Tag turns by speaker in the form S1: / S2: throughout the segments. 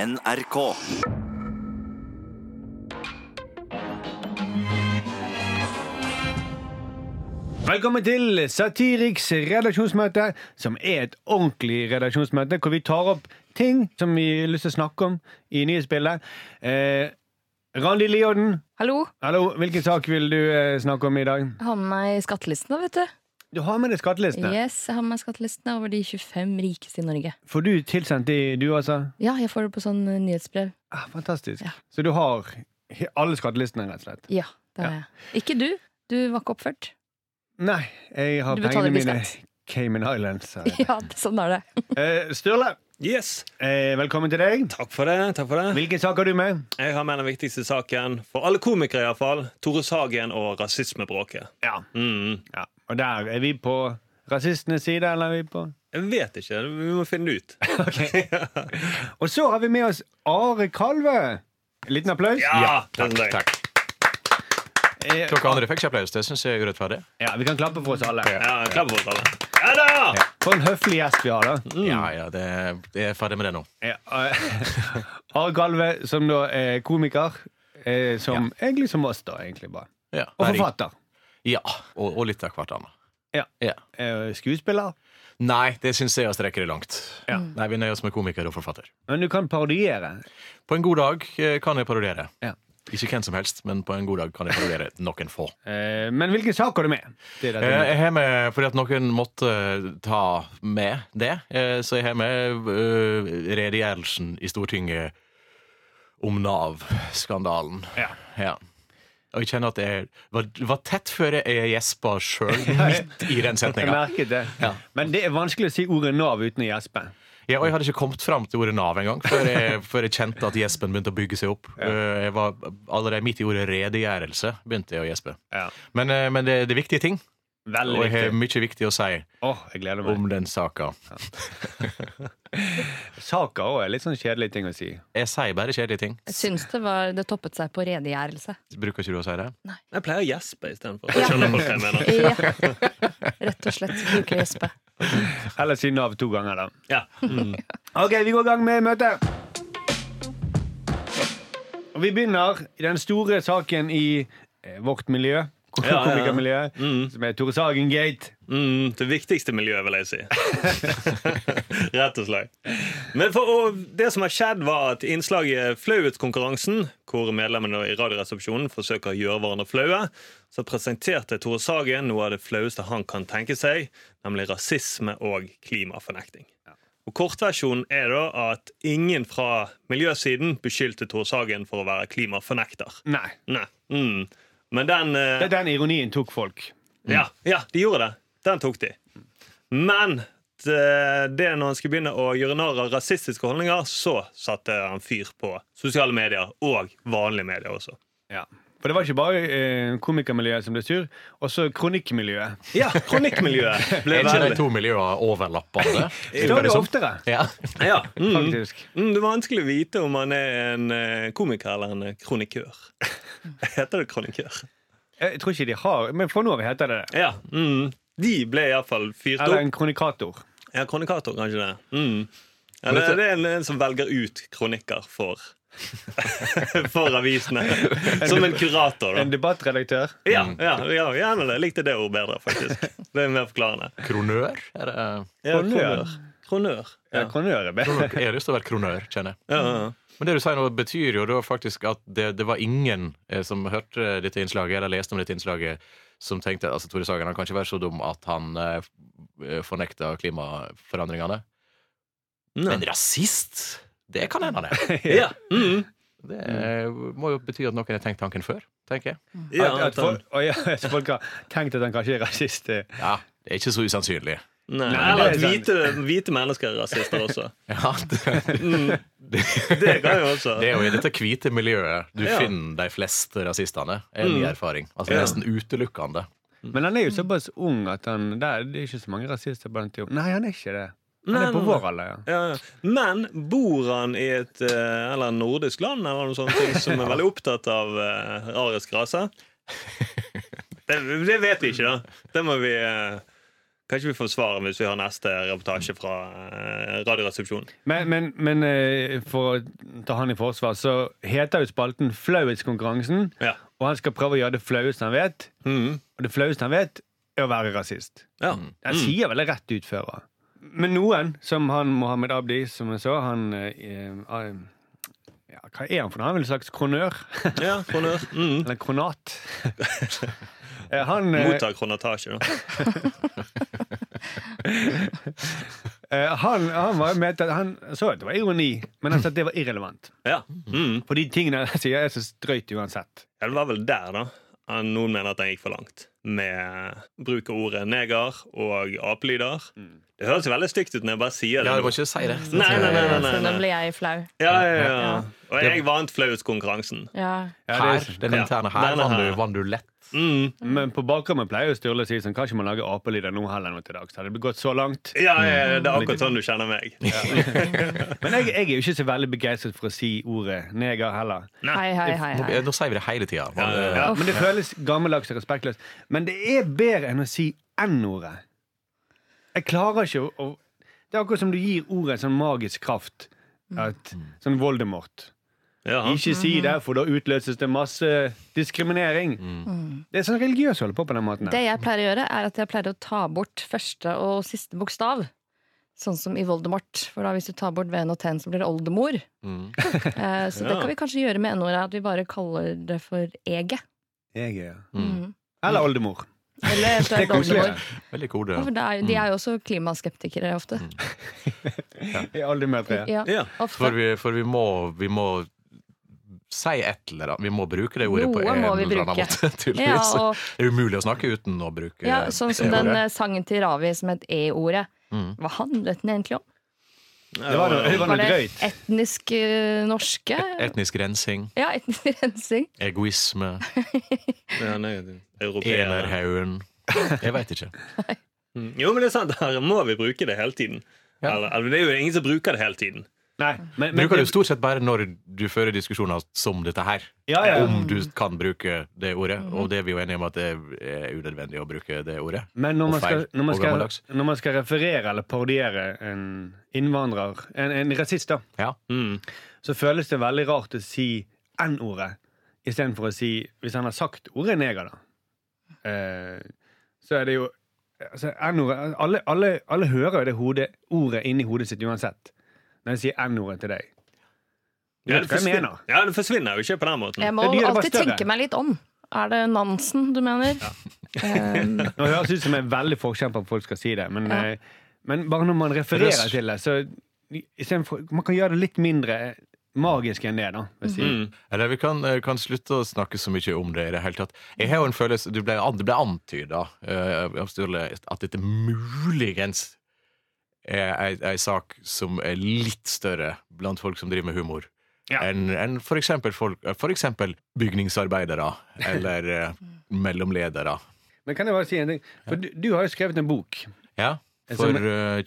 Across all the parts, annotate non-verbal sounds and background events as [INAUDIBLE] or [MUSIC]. S1: NRK.
S2: Velkommen til Satiriks redaksjonsmøte, som er et ordentlig redaksjonsmøte, hvor vi tar opp ting som vi har lyst til å snakke om i nyhetsbildet. Eh, Randi Lioden,
S3: Hallo,
S2: hallo, hvilken sak vil du eh, snakke om i dag?
S3: jeg har med meg skattelistene, vet du.
S2: Du har med deg skattelistene.
S3: Yes, jeg har med meg skattelistene over de 25 rikeste i Norge.
S2: Får du tilsendt de, du altså?
S3: Ja, jeg får det på sånn eh, nyhetsbrev.
S2: Ah, fantastisk.
S3: Ja.
S2: Så du har he- alle skattelistene, rett og slett?
S3: Ja, det har jeg. Ikke du. Du var ikke oppført.
S2: Nei, jeg har
S3: Du betaler
S2: pengene
S3: ikke
S2: mine
S3: skatt.
S2: Cayman Islands. har jeg.
S3: [LAUGHS] Ja, det- sånn er det.
S2: Eh, Sturle,
S4: Yes,
S2: eh, velkommen til deg.
S4: takk for det. takk for det
S2: Hvilken sak har du med?
S4: Jeg har med den viktigste saken for alle komikere, i hvert fall Tore Sagen og rasismebråket.
S2: Ja.
S4: Mm.
S2: Ja, og der er vi på rasistenes side, eller er vi på
S4: Jeg vet ikke. Vi må finne det ut.
S2: Og så har vi med oss Are Kalve. En liten applaus.
S4: den der.
S5: Takk.
S2: Eh,
S5: Dere andre fikk ikke applaus. Det syns jeg er urettferdig.
S2: ja, vi kan klappe for oss alle.
S4: Ja, klapp for oss alle. Ja da!
S2: For en høflig gjest vi har, da.
S5: Ja, ja, det, jeg er ferdig med det nå.
S2: Ja, eh, [LAUGHS] Are Kalve, som da er komiker. eh, Som egentlig som oss, da. egentlig bare
S5: Ja,
S2: Og
S5: herregud.
S2: forfatter.
S5: Ja, og, og litt av hvert annet.
S2: Ja.
S5: Ja.
S2: Eh, Skuespiller.
S5: Nei, det syns jeg strekker det langt. Mm. Nei, Vi nøyer oss med komiker og forfatter.
S2: Men du kan parodiere.
S5: På en god dag eh, kan jeg parodiere.
S2: Ja.
S5: Ikke hvem som helst, men på en god dag kan jeg
S2: [LAUGHS]
S5: parodiere noen få.
S2: Eh, Men hvilken sak har du med? Det er
S5: Eh,
S2: dette.
S5: Jeg har med, fordi at noen måtte eh, ta med det, eh, så jeg har med eh, redegjørelsen i Stortinget om Nav-skandalen.
S2: Ja.
S5: Og jeg kjenner at jeg var, var tett før jeg gjespa sjøl, [LAUGHS] midt i den
S2: Jeg
S5: setninga.
S2: merket det.
S5: Ja.
S2: Men det er vanskelig å si ordet Nav uten å gjespe.
S5: Ja, og jeg hadde ikke kommet fram til ordet Nav engang før, jeg- før jeg kjente at gjespen begynte å bygge seg opp. Eh, Jeg var allerede midt i ordet redegjørelse begynte jeg å gjespe.
S2: Ja.
S5: Men, eh, men det, det er viktige ting,
S2: Veldig
S5: og jeg har
S2: viktig.
S5: mye viktig å si
S2: Åh, jeg gleder meg.
S5: om den saka.
S2: Saker òg er litt sånn kjedelige ting å si.
S5: Jeg sier bare kjedelige ting.
S3: Jeg syns det, var, det toppet seg på redegjørelse.
S5: Bruker ikke du å si det?
S4: Jeg pleier å gjespe istedenfor.
S3: Ja.
S4: Skjønner folk hva jeg mener?
S3: [LAUGHS] Ja. [LAUGHS] Rett og slett bruker gjespe.
S2: Eller si Nav to ganger, da.
S4: Ja. Mm.
S2: Ok, vi går i gang med møtet. Og vi begynner i den store saken i eh, vårt miljø.
S4: Ja, ja, Mm. ja.
S2: Komikermiljøet. Som er Tore Sagen Gate.
S4: Mm, det viktigste miljøet, vil jeg si. [LAUGHS] Rett og slett. Men for, og det som har skjedd, var at innslaget Flauhetskonkurransen, hvor medlemmene i Radioresepsjonen forsøker å gjøre hverandre flaue, så presenterte Tore Sagen noe av det flaueste han kan tenke seg, nemlig rasisme og klimafornekting. Og Kortversjonen er da at ingen fra miljøsiden beskyldte Tore Sagen for å være klimafornekter.
S2: Nei.
S4: Nei. Mm. Men den eh,
S2: Det er den ironien tok folk.
S4: ja, Mm. ja, de gjorde det. Den tok de. Men det, det når han skulle begynne å gjøre narr av rasistiske holdninger, så satte han fyr på sosiale medier og vanlige medier også.
S2: For det var ikke bare eh, komikermiljøet som ble sur, også kronikkmiljøet.
S4: Ja, [LAUGHS] kronikkmiljøet ble
S5: Er ikke de
S4: veldig
S5: to miljøene [LAUGHS] overlappende? sånn?
S2: Det var det oftere,
S5: Ja. [LAUGHS]
S4: ja, mm,
S2: faktisk.
S4: mm, Det er vanskelig å vite om han er en eh, komiker eller en eh,
S2: [LAUGHS]
S4: kronikør. Heter det kronikør?
S2: Jeg tror ikke de har Men for nå av heter det det.
S4: Ja. Mm, de ble iallfall fyrt
S2: Eller
S4: opp.
S2: en kronikator.
S4: Ja, Kronikator, kanskje det. Mm. Eller det er en, en som velger ut kronikker for [LAUGHS] For avisene.
S2: [LAUGHS]
S4: Som en kurator,
S2: En
S4: da.
S2: debattredaktør.
S4: Ja, ja, ja gjerne det. Jeg likte det ordet bedre, faktisk. Det er mer forklarende.
S5: Kronør? Er det-
S4: Ja,
S2: Kronør.
S4: Kronør. Ja.
S2: Ja. Kronør er bedre.
S5: Jeg har lyst til å være kronør, kjenner jeg.
S4: Ja, ja.
S5: Men det du sier nå, betyr jo da faktisk at det, det var ingen eh, som hørte dette innslaget, eller leste om dette innslaget, som tenkte altså Tore Sagen han kan ikke være så dum at han eh, f- fornekter klimaforandringene.
S4: Nei.
S5: Men rasist? Det kan hende, det.
S4: ja. Mm.
S5: Det eh, må jo bety at noen har tenkt tanken før, tenker jeg.
S2: at,
S4: ja
S2: at
S4: at han,
S2: folk, å, ja, så folk har tenkt at han kanskje er rasist. eh.
S5: Ja, det er ikke så usannsynlig.
S4: nei.
S2: Nei,
S4: Eller
S2: det
S4: at
S2: er
S4: hvite, hvite mennesker er rasister
S2: [LAUGHS]
S4: også.
S5: Ja, [LAUGHS] det,
S4: Mm.
S5: det,
S4: Det kan jo også.
S5: Det er jo i dette hvite miljøet du
S4: Ja.
S5: finner de fleste rasistene. Er min erfaring. Altså
S4: Ja.
S5: Nesten utelukkende.
S4: Mm.
S2: Men han er jo såpass ung at han der, det er ikke så mange rasister blant de unge. Nei, han er ikke det. Han
S4: Nei,
S2: er på
S4: nei,
S2: vår alder, ja.
S4: Ja, ja. Men bor han i et eh, eller nordisk land eller noe sånt ting som er veldig opptatt av eh, arisk rase? Det, det vet vi ikke, da. Det må vi eh, Kanskje vi får svar hvis vi har neste reportasje fra eh, Radioresepsjonen.
S2: Men, men, men eh, for å ta han i forsvar, så heter jo spalten Flauhetskonkurransen.
S4: Ja.
S2: Og han skal prøve å gjøre det flaueste han vet.
S4: Mhm.
S2: Og det flaueste han vet, er å være rasist.
S4: ja.
S2: Han
S4: Mm.
S2: sier vel det rett ut før. han. Men noen, som han Mohammed Abdi, som jeg så Han eh, eh, ja, Hva er han for noe? Han er vel en slags kronør?
S4: ja kronør. Mhm.
S2: Eller kronat? [LAUGHS] Eh, han, eh,
S4: Mottar kronatasje, da.
S2: eh, han, han var jo med til at han så at det var ironi, men han sa at det var irrelevant.
S4: Ja. Mhm.
S2: For de tingene [LAUGHS] jeg sier, er så drøyt uansett.
S4: Ja, det var vel der, da. at Noen mener at den gikk for langt med bruk av ordet neger og apelyder. Det høres jo veldig stygt ut når jeg bare sier det.
S5: Ja, du
S4: nå.
S5: må ikke si det.
S4: Nei, nei, nei, nei,
S3: Så
S4: nei,
S3: da
S4: nei.
S3: ble jeg flau.
S4: Ja, ja, ja.
S3: Ja.
S4: Og jeg vant flauhetskonkurransen.
S3: Ja.
S2: Ja, det er-
S5: Her, den interne her,
S4: Den er
S5: vant du,
S4: her.
S5: vant du lett.
S4: Mm.
S2: Men på bakrommet pleier jo Sturle å si sånn Kan ikke man lage apelyder nå heller nå til dags? Hadde det gått så langt?
S4: Ja, ja, ja, det er akkurat sånn du kjenner meg.
S2: Men jeg, jeg er jo ikke så veldig begeistret for å si ordet neger heller.
S3: Hei, hei, hei.
S5: Nå,
S3: hei.
S5: nå sier vi det hele tida.
S4: Ja, ja, ja.
S2: Ja, men det føles gammeldags og respektløst. Men det er bedre enn å si n-ordet. Jeg klarer ikke å, å Det er akkurat som du gir ordet en sånn magisk kraft.
S3: Mm.
S2: At, sånn Voldemort.
S4: Ja.
S2: Ikke
S3: Mhm.
S2: si det, for da utløses det masse diskriminering.
S5: Mm.
S2: Det er sånn religiøst å holde på på den måten. her.
S3: Det jeg pleier å gjøre, er at jeg pleier å ta bort første og siste bokstav. Sånn som i Voldemort. For da hvis du tar bort V-en og T-en, så blir det oldemor.
S5: Mm.
S3: Eh, Så det
S4: Ja.
S3: kan vi kanskje gjøre med n-ordet, at vi bare kaller det for ege.
S2: Jeg er-
S3: Mm.
S2: Eller oldemor.
S3: Eller
S2: Det er
S3: eventuelt oldemor.
S2: koseligere.
S5: Veldig kode.
S3: Ja, for det er, jo- de er jo også klimaskeptikere ofte.
S2: I oldemødre.
S3: Ja,
S4: Ja.
S5: For
S3: ofte.
S5: vi, for vi må, vi må si et eller annet. Vi må bruke det ordet på
S3: Noe
S5: en
S3: må vi
S5: eller annen
S3: bruke.
S5: måte. [LAUGHS]
S3: Ja,
S5: tydeligvis.
S3: og
S5: Det er umulig å snakke uten å bruke
S3: Ja, sånn som
S5: det
S3: den
S5: ordet.
S3: eh, sangen til Ravi som het E-ordet. Hva handlet den egentlig om?
S2: Det var noe, det
S4: Sånn
S2: var
S3: Var
S2: noe
S3: det
S2: drøyt.
S3: etnisk eh, norske?
S5: Etnisk rensing,
S3: Ja, etnisk rensing.
S5: Mm. egoisme,
S4: Ja, nei, det- Europeere.
S5: enerhaugen Jeg veit ikke.
S4: Mm. Jo, men det er sant. Her må vi bruke det hele tiden.
S5: Ja.
S4: Eller, eller, det er jo ingen som bruker det hele tiden.
S2: Nei, men, men,
S5: Bruker det jo stort sett bare når du fører diskusjoner som dette her.
S2: Ja, ja.
S5: Om du kan bruke det ordet.
S3: Mm.
S5: Og det er vi jo enige om at det er unødvendig å bruke det ordet.
S2: men når,
S5: Og
S2: man skal,
S5: feil,
S2: når, man
S5: og
S2: skal,
S5: gammeldags.
S2: når man skal referere eller parodiere en innvandrer, en, en rasist, da,
S5: Ja.
S4: Mm.
S2: så føles det veldig rart å si N-ordet istedenfor å si Hvis han har sagt ordet neger, da, eh, så er det jo altså, N-ordet alle, alle, alle hører jo det hodet, ordet inni hodet sitt uansett. Når jeg sier N-ordet til deg. Du
S4: Ja,
S2: vet hva jeg
S4: forsvin-
S2: mener?
S4: Ja, det forsvinner jo ikke på den måten.
S3: Jeg må
S2: Det er de er bare
S3: alltid
S2: større.
S3: tenke meg litt om. Er det Nansen du mener? Um,
S2: Nå høres det ut som jeg er veldig forkjemper for at folk skal si det, men, eh, men bare når man refererer
S5: Røst.
S2: til det, så i- istedenfor Man kan gjøre det litt mindre magisk enn det, da. vil jeg Si.
S4: Mm.
S5: Eller vi kan, eh, kan slutte å snakke så mye om det i det hele tatt. Jeg har jo en følelse Du ble, an- det ble antyda av Sturle at dette muligens er ei, ei sak som er litt større blant folk som driver med humor.
S2: Ja.
S5: Enn enn for, eksempel folk, eh, for eksempel bygningsarbeidere eller eh, mellomledere.
S2: Men kan jeg bare si en ting? For du, du har jo skrevet en bok.
S5: Ja,
S2: En
S5: for
S2: som-
S5: eh,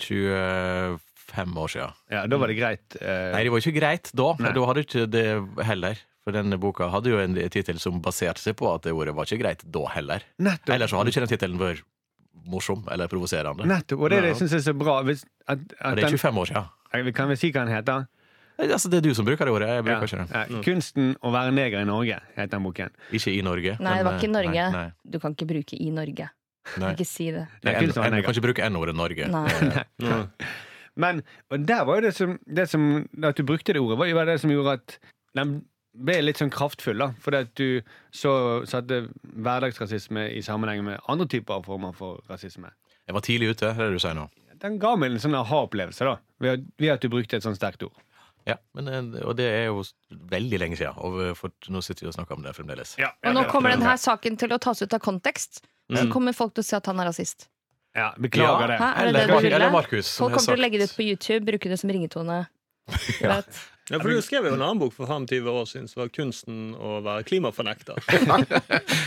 S5: 25 år siden.
S2: Ja, da var det greit. eh,
S5: Nei, det var jo ikke greit da,
S2: Nei.
S5: for da hadde ikke det heller. For denne boka hadde jo en tittel som baserte seg på at det ordet var ikke greit da heller.
S2: nettopp.
S5: Ellers så hadde ikke den tittelen vært morsom eller provoserende.
S2: nettopp. Og det er det jeg syns er så bra. Hvis, at, at
S5: Og det er
S2: den,
S5: 25 år siden.
S2: Eh, vi kan vel si hva den heter?
S5: Nei, Altså, det er du som bruker det ordet, jeg
S2: Ja.
S5: bruker ikke det. Mm.
S2: Ja, 'Kunsten å være neger i Norge' heter den boken.
S5: Ikke i Norge.
S3: nei, det var ikke i
S5: men, eh,
S3: Norge.
S5: Nei,
S3: Du kan ikke bruke i Norge.
S5: nei, nei.
S3: Ikke si det.
S5: nei
S2: Kunst var
S5: en, en,
S2: neger.
S5: du kan ikke bruke n-ordet Norge.
S3: Nei.
S4: Ja.
S2: Men og der var jo det som, det som At du brukte det ordet, var jo det som gjorde at den ble litt sånn kraftfull. da Fordi at du så satte hverdagsrasisme i sammenheng med andre typer av former for rasisme.
S5: Jeg var tidlig ute, det er det du sier nå.
S2: Den ga meg en sånn aha-opplevelse da ved at, ved at du brukte et sånt sterkt ord.
S5: Ja, men, eh, og det er jo veldig lenge siden, og eh, for, nå sitter vi og snakker om det fremdeles.
S3: Og nå kommer denne saken til å tas ut av kontekst. Så
S5: Mm.
S3: kommer folk til å si at han er rasist.
S2: Ja, Beklager det.
S3: Hæ? Er det det
S5: Eller,
S3: du ville?
S5: eller Markus, som
S3: Folk
S5: har
S3: kommer til å
S5: sagt.
S3: legge det ut på YouTube, bruke det som ringetone. Du vet.
S4: Ja, for Du skrev jo en annen bok for 25 år siden som var 'Kunsten å være klimafornekter'.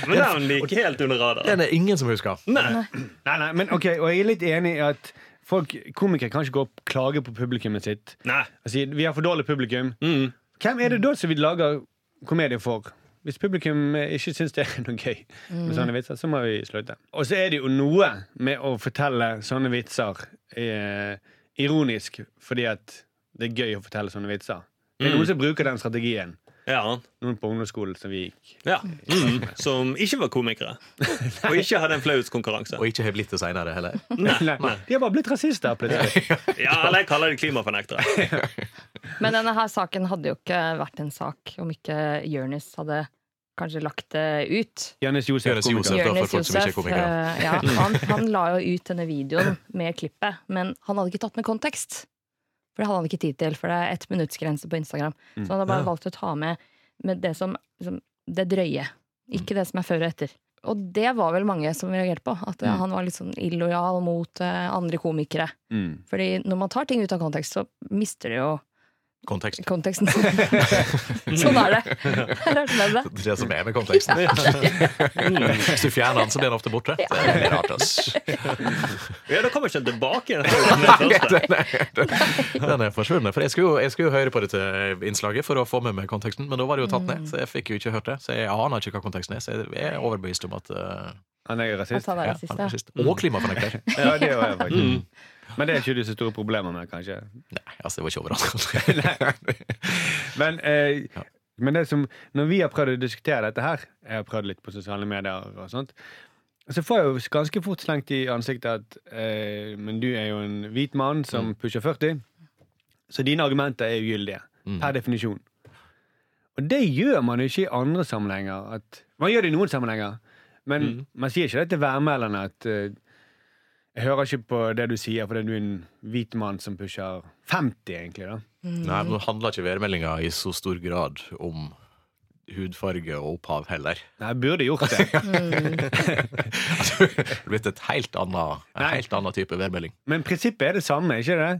S4: Men den gikk helt under radaren.
S5: Den er ingen som husker.
S4: Nei.
S2: Nei, nei, men ok, Og jeg er litt enig i at folk, komikere kan ikke gå og klage på publikummet sitt.
S4: Nei.
S2: Og si vi har for dårlig publikum.
S4: Mm.
S2: Hvem er det da som vi lager komedie for? Hvis publikum eh, ikke syns det er noe gøy med sånne vitser, så må vi slutte. Og så er det jo noe med å fortelle sånne vitser eh, ironisk fordi at det er gøy å fortelle sånne vitser. Det er noen som bruker den strategien.
S4: Ja,
S2: Noen på ungdomsskolen som vi gikk.
S4: ja. Mm. Som ikke var komikere. Og ikke hadde en flauhetskonkurranse.
S5: Og ikke har blitt det seinere heller.
S3: [LAUGHS]
S2: Nei, De har bare blitt rasister plutselig.
S4: Ja, eller jeg kaller det klimafornektere.
S3: Men denne her saken hadde jo ikke vært en sak om ikke Jonis hadde kanskje lagt det ut.
S2: Jonis Josef,
S5: Jonis Josef.
S2: komiker.
S5: da, for
S3: Jonis
S5: folk som ikke er
S3: Josef
S5: komikere.
S3: eh, ja,
S5: [LAUGHS]
S3: han, han la jo ut denne videoen med klippet, men han hadde ikke tatt med kontekst. For det hadde han ikke tid til, for det er ett minuttsgrense på Instagram.
S5: Mm.
S3: Så han hadde bare valgt å ta med, med det som liksom, det drøye, ikke det som er før og etter. Og det var vel mange som reagerte på, at eh,
S5: Mm.
S3: han var litt sånn illojal mot eh, andre komikere.
S2: Mm.
S3: Fordi når man tar ting ut av kontekst, så mister det jo
S5: Kontekst. [LAUGHS]
S3: konteksten. [LAUGHS] sånn er det. [LAUGHS] Det er sånn det. er.
S5: Det er det som er med konteksten. [LAUGHS] Hvis du fjerner den, så blir den ofte borte. Det er rart, ass.
S4: Ja, Da kommer ikke den tilbake igjen. Den første.
S5: Den er forsvunnet. For jeg skulle, jo, jeg skulle jo høre på dette innslaget for å få med meg konteksten, men da var det jo tatt ned, så jeg fikk jo ikke hørt det. Så jeg aner ikke hva konteksten er, så jeg er overbevist om at eh,
S2: Han er
S3: At
S2: rasist.
S3: han er
S5: ja,
S3: rasist,
S5: han
S3: ja.
S5: er rasist. Og klimafornekter.
S2: Ja, det var jeg faktisk. Men det er ikke du så store problemer med, kanskje.
S5: Nei, altså, det var ikke
S2: [LAUGHS]
S5: overraskende.
S2: Men, eh, men det som, når vi har prøvd å diskutere dette her, jeg har prøvd litt på sosiale medier og sånt, så får jeg jo ganske fort slengt i ansiktet at eh, men du er jo en hvit mann som pusher 40, så dine argumenter er ugyldige. Per definisjon. Og det gjør man jo ikke i andre sammenhenger. At, man gjør det i noen sammenhenger, men man sier ikke det til værmelderne at eh, jeg hører ikke på det du sier fordi du er en hvit mann som pusher 50, egentlig. da.
S5: [LAUGHS] Nei, men nå handler ikke værmeldinga i så stor grad om hudfarge og opphav heller. [LAUGHS]
S2: Nei, jeg burde gjort
S4: [LAUGHS]
S2: det.
S5: Altså, det er blitt et helt annet, en helt annen type værmelding.
S2: Men prinsippet er det samme, ikke det?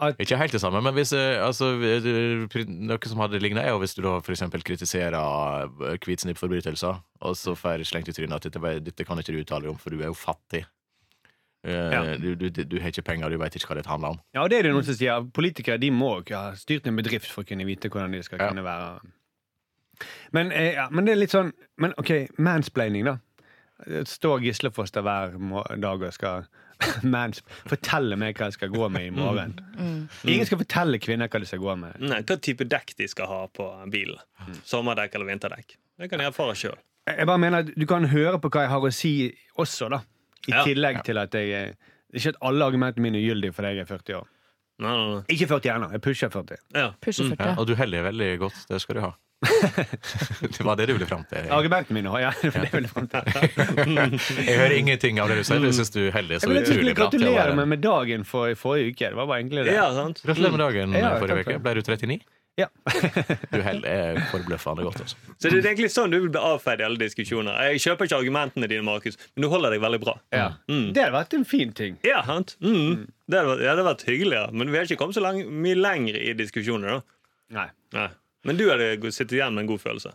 S2: At,
S5: Ikke helt det samme, men hvis, eh, altså, eh, pri- noe som hadde lignet er jo hvis du da for eksempel kritiserer eh, hvitsnippforbrytelser, og så får slengt i trynet at dette, var- dette kan ikke du uttale deg om, for du er jo fattig. Eh,
S2: Ja.
S5: Du, du, du har ikke penger, du vet ikke hva det handler om.
S2: ja, det er det noen som sier. Politikere de må ikke ha styrt en bedrift for å kunne vite hvordan de skal
S5: Ja.
S2: kunne være. Men, eh, ja, men det er litt sånn Men OK, mansplaining, da. Står Gislefoss der hver må- dag og skal [LAUGHS] mans fortelle meg hva jeg skal gå
S4: Mm.
S2: med i morgen? Ingen skal fortelle kvinner hva de skal gå med.
S4: Nei, Hva type dekk de skal ha på bilen. Sommerdekk eller vinterdekk. Det kan jeg erfare sjøl.
S2: Jeg bare mener at du kan høre på hva jeg har å si også, da. I
S4: Ja.
S2: tillegg til at jeg eh, er- Ikke at alle argumentene mine er ugyldige fordi jeg er 40 år. Ikke 40 ennå. Jeg pusher 40.
S4: Ja.
S3: Pusher
S5: mm, Ja,
S3: 40.
S5: og du heller veldig godt, det skal du
S2: [LAUGHS]
S5: ha. det var det du ville fram til. egentlig.
S2: Argumentene mine har jeg. [LAUGHS] Det vil jeg frem til.
S5: [LAUGHS] Jeg hører ingenting av det du sier, for jeg syns du heller er
S2: Jeg
S5: så
S2: ville tusen
S5: utrolig bra. til å
S2: gratulere
S5: være-
S2: meg med dagen for i forrige uke. Det var bare egentlig det.
S4: ja, sant?
S5: Gratulerer med dagen
S2: Ja,
S5: eh, forrige
S2: takk for
S5: uke. Ble du 39?
S2: Ja.
S5: Du heller er forbløffende godt. Altså.
S4: Så det er egentlig sånn du vil bli avfeid i alle diskusjoner. Jeg kjøper ikke argumentene dine, Markus, men du holder deg veldig bra.
S2: [LAUGHS] Ja.
S4: Mm.
S2: Det hadde vært en fin ting.
S4: Ja, sant? Mm. Det hadde vært- det hadde vært hyggeligere, men vi har ikke kommet så lang, mye lenger i diskusjoner. da.
S2: Nei.
S4: Nei. Men du hadde gå- sittet igjen med en god følelse.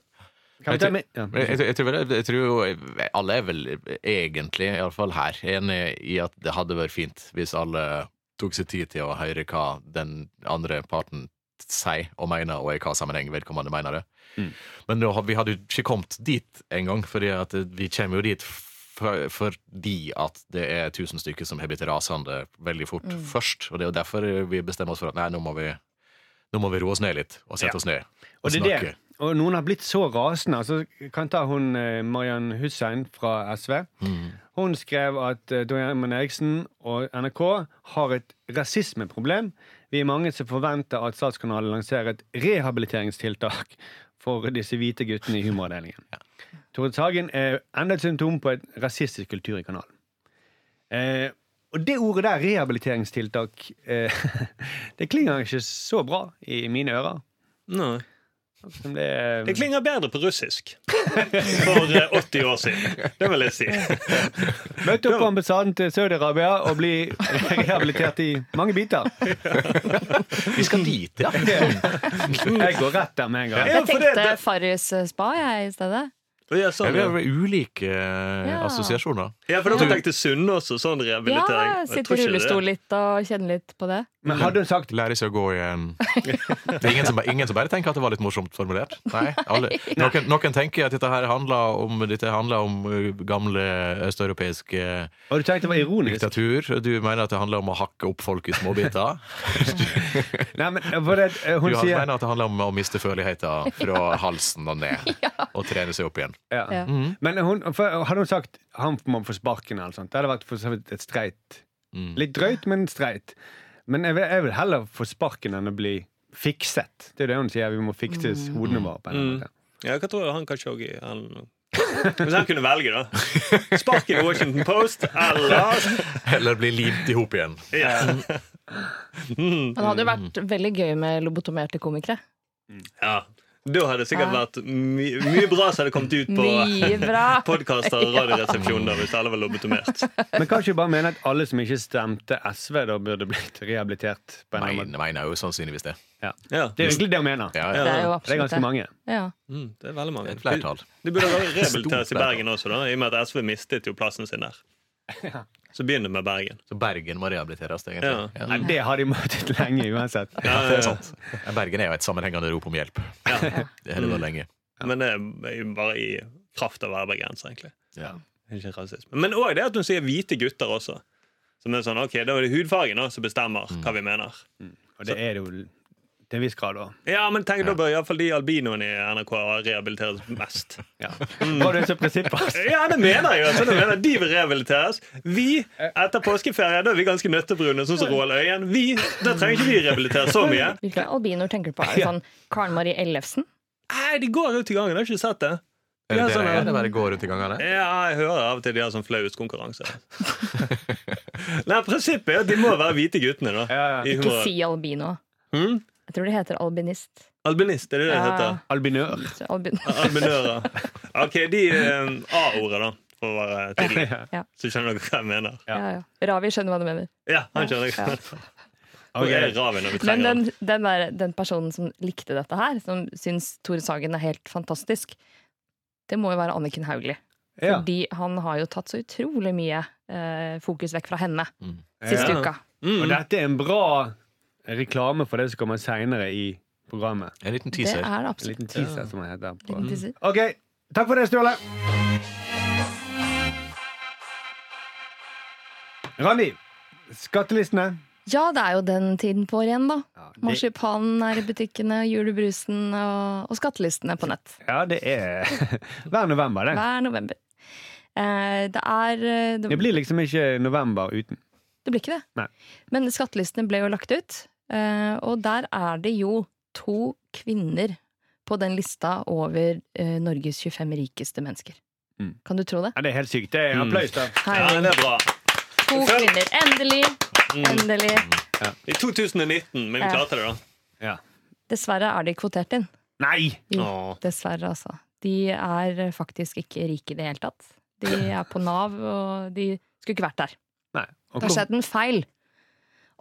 S2: Kan vi ta med? Ja.
S5: Men Jeg, jeg, tror vel- jeg tror jo alle er vel egentlig, iallfall her, enig i at det hadde vært fint hvis alle tok seg tid til å høre hva den andre parten sier og mener, og i hva sammenheng vedkommende mener det.
S2: Mm.
S5: Men nå, har- vi hadde jo ikke kommet dit engang, fordi at vi kommer jo dit f- fordi at det er tusen stykker som har blitt rasende veldig fort først. Og det er jo derfor vi bestemmer oss for at nei, nå må vi, nå må vi roe oss ned litt, og sette
S2: Ja.
S5: oss ned og,
S2: Og, det er
S5: snakke.
S2: det. og noen har blitt så rasende. Altså, kan ta hun eh, Mariann Hussein fra SV. Hun skrev at eh, Dag Herman Eriksen og NRK har et rasismeproblem. Vi er mange som forventer at Statskanalen lanserer et rehabiliteringstiltak for disse hvite guttene i humoravdelingen. Tord Sagen er enda et symptom på et rasistisk kultur i kanalen. Eh, og det ordet der, rehabiliteringstiltak, eh, [LAUGHS] det klinger ikke så bra i mine ører.
S4: Nei.
S2: Som det eh, er-
S4: Det klinger bedre på russisk for eh, 80 år siden. Det vil jeg si.
S2: Møte opp på ambassaden til Saudi-Arabia og bli rehabilitert i mange biter.
S5: Vi skal dit, ja.
S2: [LAUGHS]
S5: [LAUGHS]
S2: Jeg går rett der med en gang.
S4: Ja,
S3: Jeg
S4: for det-
S3: tenkte
S4: det-
S3: Farris eh, spa, jeg, i stedet.
S4: Og sånn, jeg sa
S5: Ja, vi
S4: det.
S5: har vel ulike eh,
S3: Ja.
S5: assosiasjoner.
S4: Ja, for dere tenkte sunn også, sånn
S3: Ja,
S4: rehabilitering. Jeg
S3: sitte
S4: tror
S3: i
S4: ikke det.
S3: rullestol litt og kjenne litt på det.
S2: Men hadde hun sagt
S5: Lære seg å gå igjen. Det er ingen som, ba- ingen som bare tenker at det var litt morsomt formulert. Nei, alle, noen, noen tenker at dette her handler om, dette handler om uh, gamle østeuropeisk uh,
S2: Og du tenkte det var ironisk?
S5: diktatur. Du mener at det handler om å hakke opp folk i [LAUGHS] småbiter.
S2: Nei, men for det, eh,
S5: Du
S2: hun
S5: har-
S2: sier
S5: mener at det handler om å miste førligheten fra halsen og ned, og trene seg opp igjen.
S2: ja.
S3: Ja.
S5: Mhm.
S2: Men hun, for, hadde hun sagt 'han må få sparken' eller sånt, det hadde vært for så vidt et streit
S5: Mm.
S2: Litt drøyt, men streit. Men jeg vil, jeg vil heller få sparken enn å bli fikset. Det er jo det hun sier. Vi må fikses hodene våre. på en
S5: Mm.
S2: eller annen måte.
S4: Ja, hva tror du han Kashoggi han... Hvis han kunne velge, da. Spark i Washington Post eller
S5: Eller bli limt i hop igjen.
S4: ja. Mm.
S3: Men det hadde jo vært veldig gøy med lobotomerte komikere.
S4: ja. Da hadde det sikkert
S3: Ja.
S4: vært my mye bra som hadde kommet ut [LAUGHS] på
S3: Mye bra!
S4: podkaster og Radioresepsjonen da, hvis alle var lobotomert.
S2: Men kanskje vi bare mener at alle som ikke stemte SV, da burde blitt rehabilitert? på en eller annen måte.
S5: Mener, mener jo sannsynligvis det.
S4: Ja.
S2: Det er egentlig det hun mener.
S5: Ja,
S3: Det
S5: ja.
S3: er jo
S2: Det er
S3: absolutt
S2: ganske mange.
S3: Ja.
S4: Mm, det er veldig mange.
S5: Et flertall.
S4: De burde rehabiliteres i
S5: Stort
S4: Bergen også, da, i og med at SV mistet jo plassen sin der. Så begynner med Bergen.
S5: Så Bergen må rehabiliteres,
S4: Ja.
S5: egentlig. Ja.
S2: Nei, det har de måttet lenge uansett.
S4: Ja,
S5: Det er [LAUGHS] sant. Bergen er jo et sammenhengende rop om hjelp.
S4: Ja.
S5: Det har det vært lenge.
S4: Men det er jo bare i kraft av å være bergenser, egentlig.
S5: Ja.
S4: Ikke rasisme. Men òg det at hun sier hvite gutter også. Som er sånn, ok, Da er det hudfargen da, som bestemmer
S5: Mm.
S4: hva vi mener.
S2: Og det er det jo til en viss grad òg.
S4: Ja, men tenk, Da bør iallfall de albinoene i NRK rehabiliteres
S5: [LAUGHS]
S4: mest.
S2: Ja. Var det så prinsippet?
S4: Ja, det mener jeg! Altså, det mener jeg. De vil rehabiliteres. Vi, etter påskeferie, da er vi ganske nøttebrune, sånn som Roald Øyen. Vi, Da trenger ikke vi rehabilitere så mye.
S3: Hvilke albinoer tenker du på? Er det sånn Karen Marie Ellefsen?
S4: Nei, de går ut i gangen. Jeg har ikke sett det.
S5: Er
S4: Ja,
S5: det det
S4: sånn,
S5: det
S4: ja.
S5: er? Det bare går rundt i gangene?
S4: Ja, jeg hører av og til de har sånn [LAUGHS] flauskonkurranse. Nei, prinsippet er at de må være hvite guttene, da.
S2: Ja, ja.
S4: I
S3: Ikke
S4: humoren.
S3: si albino.
S4: Hmm?
S3: Jeg tror det heter albinist.
S4: Albinist, er det det det
S3: Ja.
S4: [LAUGHS] heter?
S2: Albinør.
S3: Så
S4: [LAUGHS]
S3: Albin.
S4: Albinører. OK, de eh, A-ordet, da, for å være
S2: [LAUGHS]
S4: tydelig.
S3: Ja.
S4: Så skjønner dere hva jeg mener.
S2: Ja.
S3: Ja, ja. Ravi skjønner hva du mener.
S4: Ja, han skjønner
S3: Ja.
S4: hva jeg mener.
S2: Ok.
S4: Og jeg er raven når vi
S3: Men
S4: trenger den.
S3: den, den, der, den personen som likte dette her, som syns Tore Sagen er helt fantastisk, det må jo være Anniken Hauglie.
S2: Ja.
S3: Fordi han har jo tatt så utrolig mye eh, fokus vekk fra henne siste
S2: Ja.
S3: uka.
S4: Mm.
S2: Og dette er en bra reklame for det som kommer seinere i programmet.
S5: En liten
S3: Det
S5: teaser.
S3: er det
S2: En
S3: absolutt.
S2: liten teaser, som det heter. På.
S3: Liten teaser.
S2: Ok, takk for det, Ståle. Randi, skattelistene.
S3: Ja, det er jo den tiden på året igjen, da.
S2: Ja, det-
S3: Marsipanen er i butikkene, julebrusen og, og skattelistene på nett.
S2: Ja, det er [LAUGHS] hver november, det.
S3: Hver november. Eh, det er eh,
S2: Det blir liksom ikke november uten.
S3: Det blir ikke det.
S2: Nei.
S3: Men skattelistene ble jo lagt ut, eh, og der er det jo to kvinner på den lista over eh, Norges 25 rikeste mennesker.
S2: Mm.
S3: Kan du tro det?
S2: Ja, det er helt sykt. Det er
S4: Mm.
S2: applaus, da.
S4: Ja,
S3: Herregud.
S4: det er bra.
S3: To kvinner. Endelig! Endelig.
S4: I 2019, men vi
S3: Ja.
S4: klarte det, da.
S2: Ja.
S3: Dessverre er de kvotert inn.
S2: Nei!
S3: Jo,
S4: Åh.
S3: dessverre, altså. De er eh, faktisk ikke rike i det hele tatt. De er på Nav, og de skulle ikke vært der.
S2: Nei. Og
S3: Det har
S2: hvor-
S3: skjedd en feil.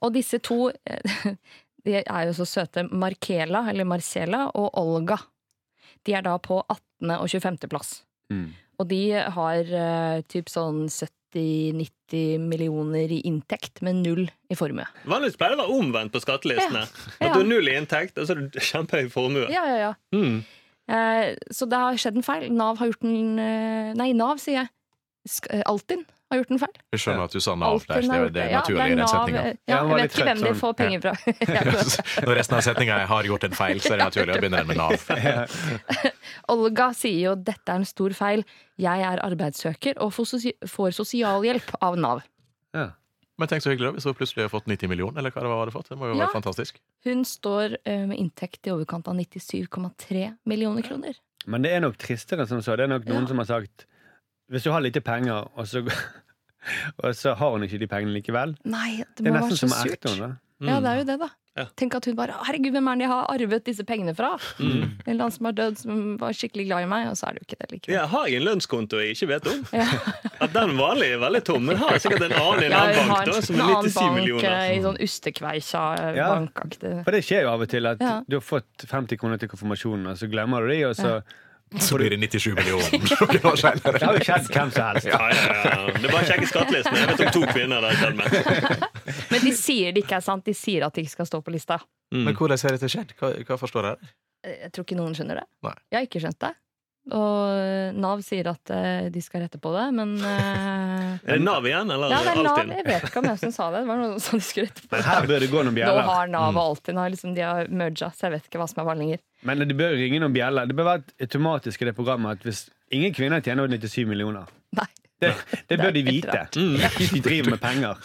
S3: Og disse to [LAUGHS] de er jo så søte. Markela, eller Marcela, og Olga. De er da på 18. og 25. plass.
S2: Mm.
S3: Og de har eh, typ sånn 70-90 millioner i inntekt, men null i formue.
S4: Vanligvis pleier det å være omvendt på skattelistene.
S3: Ja.
S4: At du har null i inntekt, og så har du kjempehøy formue.
S3: Ja, ja, ja.
S4: Mm.
S3: Eh, så det har skjedd en feil. Nav har gjort en eh, Nei, Nav, sier jeg. Sk eh, Altinn har gjort en feil.
S5: Jeg skjønner at du sa Nav der.
S3: Altinn
S5: Det
S3: har
S5: er,
S3: gjort
S5: det er
S3: Ja, det
S5: naturlig i
S3: er
S5: den
S3: Nav,
S5: setninga.
S3: eh, Ja,
S2: Ja, han var litt
S3: jeg vet ikke
S2: trøtt,
S3: hvem de
S2: sånn.
S3: får penger fra. [LAUGHS] Ja,
S5: [LAUGHS] Når resten av setninga er 'har gjort en feil', så er det naturlig å begynne den med Nav.
S3: Olga sier jo dette er en stor feil. Jeg er arbeidssøker og får sosi- får sosialhjelp av Nav.
S2: Ja.
S5: [LAUGHS] Men tenk så hyggelig da, hvis hun plutselig har fått 90 millioner, eller hva det var hun hadde fått. Det må jo
S3: Ja.
S5: være fantastisk.
S3: Hun står eh, med inntekt i overkant av 97,3 millioner kroner.
S2: Men det er nok tristere som så. Det er nok noen
S3: Ja.
S2: som har sagt Hvis du har lite penger, og så, [LAUGHS] og så har hun ikke de pengene likevel
S3: Nei, det
S2: Det er
S3: må være
S2: nesten
S3: så
S2: som å
S3: surt.
S2: ekte henne. da.
S3: Mm. Ja, det er jo det, da.
S4: Ja.
S3: Tenk at hun bare Herregud, hvem er det jeg har arvet disse pengene fra? En eller annen som har dødd, som var skikkelig glad i meg, og så er det jo ikke det likevel.
S4: Ja, har jeg en lønnskonto jeg ikke vet om?
S3: Ja.
S4: [LAUGHS] At den vanlige er veldig tom, men har jeg sikkert en annen i en
S3: Ja, hun har
S4: annen bank da,
S3: en,
S4: som
S3: en
S4: er
S3: annen
S4: 97
S3: bank
S4: millioner.
S3: eh, i sånn ustekveisa eh,
S2: Ja.
S3: bankaktig.
S2: For det skjer jo av og til at
S3: Ja.
S2: du har fått 50 kroner til konfirmasjonen, og så glemmer du de, og så
S5: [LAUGHS] så blir det
S3: [LAUGHS]
S5: 97 millioner år
S2: Det
S5: seinere.
S2: har jo skjedd hvem som helst.
S4: Ja, ja, ja. Det er bare å sjekke skattelisten. Jeg vet om to kvinner det har skjedd med.
S3: [LAUGHS] Men de sier det ikke er sant. De sier at det ikke skal stå på lista.
S4: Mm.
S3: Eh,
S5: Men hvordan har dette skjedd? Hva, hva forstår jeg?
S3: Jeg tror ikke noen skjønner det.
S5: Nei.
S3: Jeg har ikke skjønt det. Og Nav sier at eh, de skal rette på det, men
S4: [LAUGHS]
S3: eh,
S4: Er det Nav igjen, eller
S3: Ja, det er Nav.
S4: Altinn?
S3: Jeg vet ikke om hvem som sa det. Det var noen som sa de skulle rette på
S2: Men
S3: det.
S2: her bør det gå noen
S3: Nå
S2: bjeller.
S3: har Nav og
S4: Mm.
S3: Altinn har liksom, de har merga, så jeg vet ikke hva som er vanlig lenger.
S2: Men det bør ringe noen bjeller. Det bør være automatisk i det programmet at hvis ingen kvinner tjener over 97 millioner
S3: Nei,
S2: Det, det bør de
S3: Det er helt
S2: vite. Hvis de driver med penger.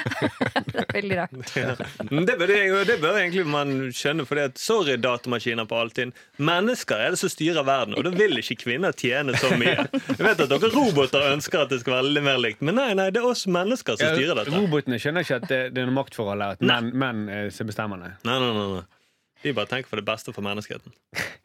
S3: det er veldig rart.
S4: [LAUGHS] Men Det bør, det bør egentlig man skjønne, for sorry, datamaskiner på Altinn. Mennesker er det som styrer verden, og da vil ikke kvinner tjene så mye. Jeg vet at dere roboter ønsker at det skal være litt mer likt, men nei, nei, det er oss mennesker som styrer dette.
S2: Robotene skjønner ikke at det, det er noe maktforhold her, at menn, menn eh, som bestemmer det.
S4: Nei, nei, nei, nei. Vi bare tenker på det beste for menneskeheten.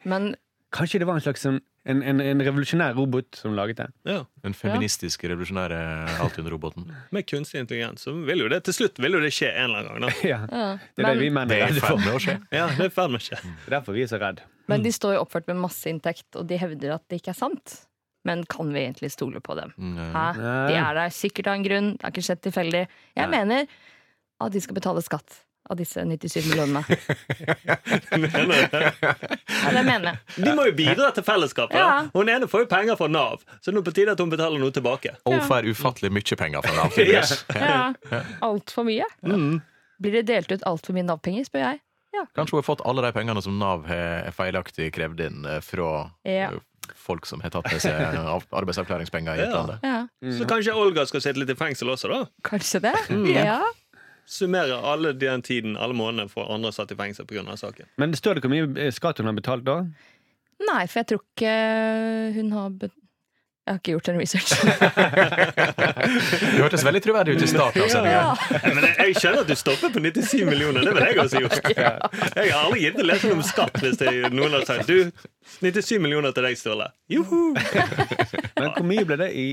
S3: Men
S2: Kanskje det var en slags sånn- en, en, en revolusjonær robot som laget det? [LAUGHS]
S4: Ja,
S5: Den feministiske, revolusjonære Altinn-roboten.
S4: Med kunstig intelligens så vil jo det til slutt vil jo det skje en eller annen gang. da.
S2: Ja,
S3: ja.
S2: det er det vi
S3: men,
S2: menn
S5: Det
S2: er
S5: er i
S2: redde
S5: ferd
S2: for.
S5: med å skje.
S4: Ja, det er i ferd med å skje. [LAUGHS]
S2: Det er Derfor vi er så redde.
S3: men de står jo oppført med masseinntekt, og de hevder at det ikke er sant. Men kan vi egentlig stole på dem?
S5: Mm, ja.
S3: Hæ?
S2: Nei.
S3: De er der sikkert av en grunn. Det har ikke skjedd tilfeldig. Jeg mener at de skal betale skatt av disse 97 millionene.
S4: Mener du det?
S3: Ja, det mener jeg.
S4: De må jo bidra til fellesskapet.
S3: Ja.
S4: da. Hun ene får jo penger fra Nav, så nå er det på tide at hun betaler noe tilbake.
S5: Og får ufattelig mye penger [LAUGHS] fra Altinn. Yes.
S3: Ja. Mm. Altfor mye. Blir det delt ut altfor mye Nav-penger, spør jeg.
S5: Kanskje hun har fått alle de pengene som Nav har feilaktig krevd inn eh, fra
S3: Ja.
S5: eh, folk som har tatt med seg eh, av- arbeidsavklaringspenger i
S4: Ja.
S5: utlandet.
S3: Ja.
S4: Så kanskje Olga skal sitte litt i fengsel også, da?
S3: Kanskje det? Ja.
S4: Summere alle den tiden, alle månedene for andre satt i fengsel pga. [LAUGHS] saken.
S2: Men det står det hvor mye eh, skatt hun har betalt da?
S3: Nei, for jeg tror ikke hun har be Jeg har ikke gjort en [LAUGHS] research.
S5: Det hørtes veldig troverdig ut i starten av sendinga.
S3: Ja.
S4: Nei, Men jeg, jeg skjønner at du stopper på 97 millioner. Det ville jeg også [LAUGHS] gjort. Jeg har aldri giddet å lese noe om skatt hvis det, noen har sagt du, 97 millioner til deg, Sturle. Juhu!
S2: Men hvor mye ble det i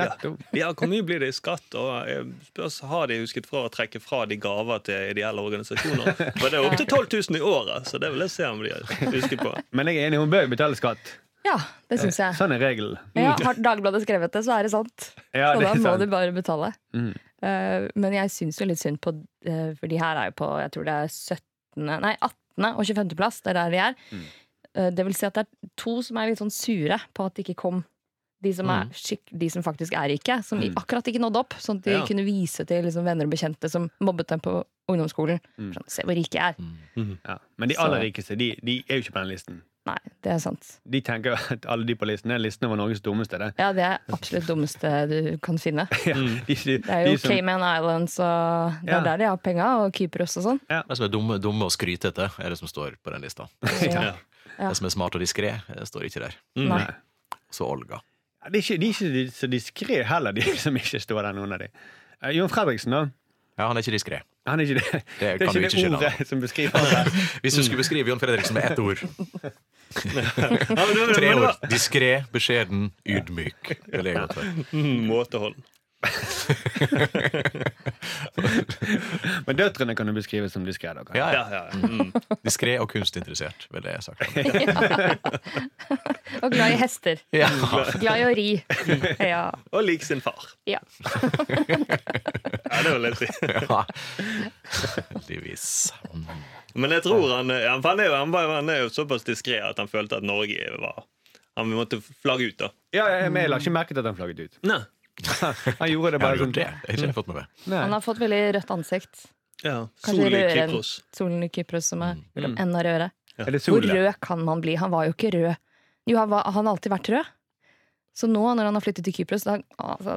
S2: netto?
S4: Ja, hvor mye blir det i skatt? Og eh, spørs, Har de husket fra å trekke fra de gaver til ideelle [LAUGHS] organisasjoner? For det er opptil 12 000 i året, så det vil jeg se om de husker på.
S2: Men jeg er enig, hun bør jo betale skatt.
S3: ja, det syns jeg.
S2: Sånn er regelen.
S3: Ja, har Dagbladet skrevet det, så er det sant.
S2: Ja, det
S3: Så da
S2: er
S3: må
S2: sant.
S3: de bare betale.
S2: Mm.
S3: Eh, men jeg syns jo litt synd på eh, For de her er jo på jeg tror det er 17. Nei, 18. og 25. plass. Det er der de er.
S2: Mm.
S3: Eh, det vil si at det er to som er litt sånn sure på at de ikke kom. De som,
S2: Mm.
S3: er skikk, de som faktisk er rike, som i- akkurat ikke nådde opp. Sånn at de
S4: Ja.
S3: kunne vise til liksom, venner og bekjente som mobbet dem på ungdomsskolen.
S2: Mm.
S3: Sånn, Se hvor rike jeg er.
S2: Ja. Men de aller rikeste de, de er jo ikke på den listen.
S3: Nei, det er sant.
S2: De tenker jo at alle de på listen er listen over Norges dummeste. Det.
S3: Ja, det er absolutt dummeste du kan finne.
S2: Ja, de, de,
S3: Det er jo
S2: de som-
S3: Cayman Islands og Det er
S2: Ja.
S3: der de har penga, og Kypros og sånn.
S5: De som er dumme, dumme og skrytete, er det som står på den lista.
S4: Ja.
S5: De som er smart og diskré, eh, står ikke der.
S3: Nei.
S2: Mm.
S5: Så Olga.
S2: Ja, de, er ikke, de er ikke så diskré heller, de som ikke står der, noen av de. Eh, Jon Fredriksen, da.
S5: Ja, han er ikke diskré.
S2: Han er ikke det. Det er
S5: kan
S2: ikke
S5: du
S2: det
S5: ikke skylde
S2: ordet som beskriver det.
S5: Hvis du skulle beskrive John Fredriksen med ett ord
S4: Ja, men det- men
S5: Tre
S4: det var-
S5: ord. Diskré, beskjeden, ydmyk. Vil jeg godt være.
S4: Mm, Måtehold.
S2: Men døtrene kan du beskrive som diskré. da, kanskje.
S5: Ja, ja.
S4: Ja, ja, ja. Mm.
S5: Diskré og kunstinteressert, ville jeg sagt.
S4: [LAUGHS]
S3: Og glad i hester.
S5: Ja.
S3: Glad i å ri. Ja.
S4: Og lik sin far.
S3: ja.
S4: Ja, det vil jeg si.
S5: Ja. Heldigvis.
S4: Men jeg tror han, eh, ja, for han, er jo, han, var, han er jo såpass diskré at han følte at Norge var Han måtte flagge ut, da.
S2: Ja, ja, men jeg la ikke merke til at han flagget ut.
S4: Nei.
S2: Han gjorde det
S5: Jeg
S2: bare
S5: har gjort
S2: sånn.
S5: det. Jeg har ikke fått med meg.
S3: Han
S2: Nei.
S3: har fått veldig rødt ansikt.
S4: Ja.
S3: Kanskje
S4: Sol i
S3: rødere enn
S4: Kypros.
S3: solen i Kypros som er enda rødere.
S2: Er det
S3: Hvor
S2: sol? ja?
S3: rød kan man bli? Han var jo ikke rød. Jo, han, var, han har alltid vært rød. Så nå, når han har flyttet til Kypros da, altså,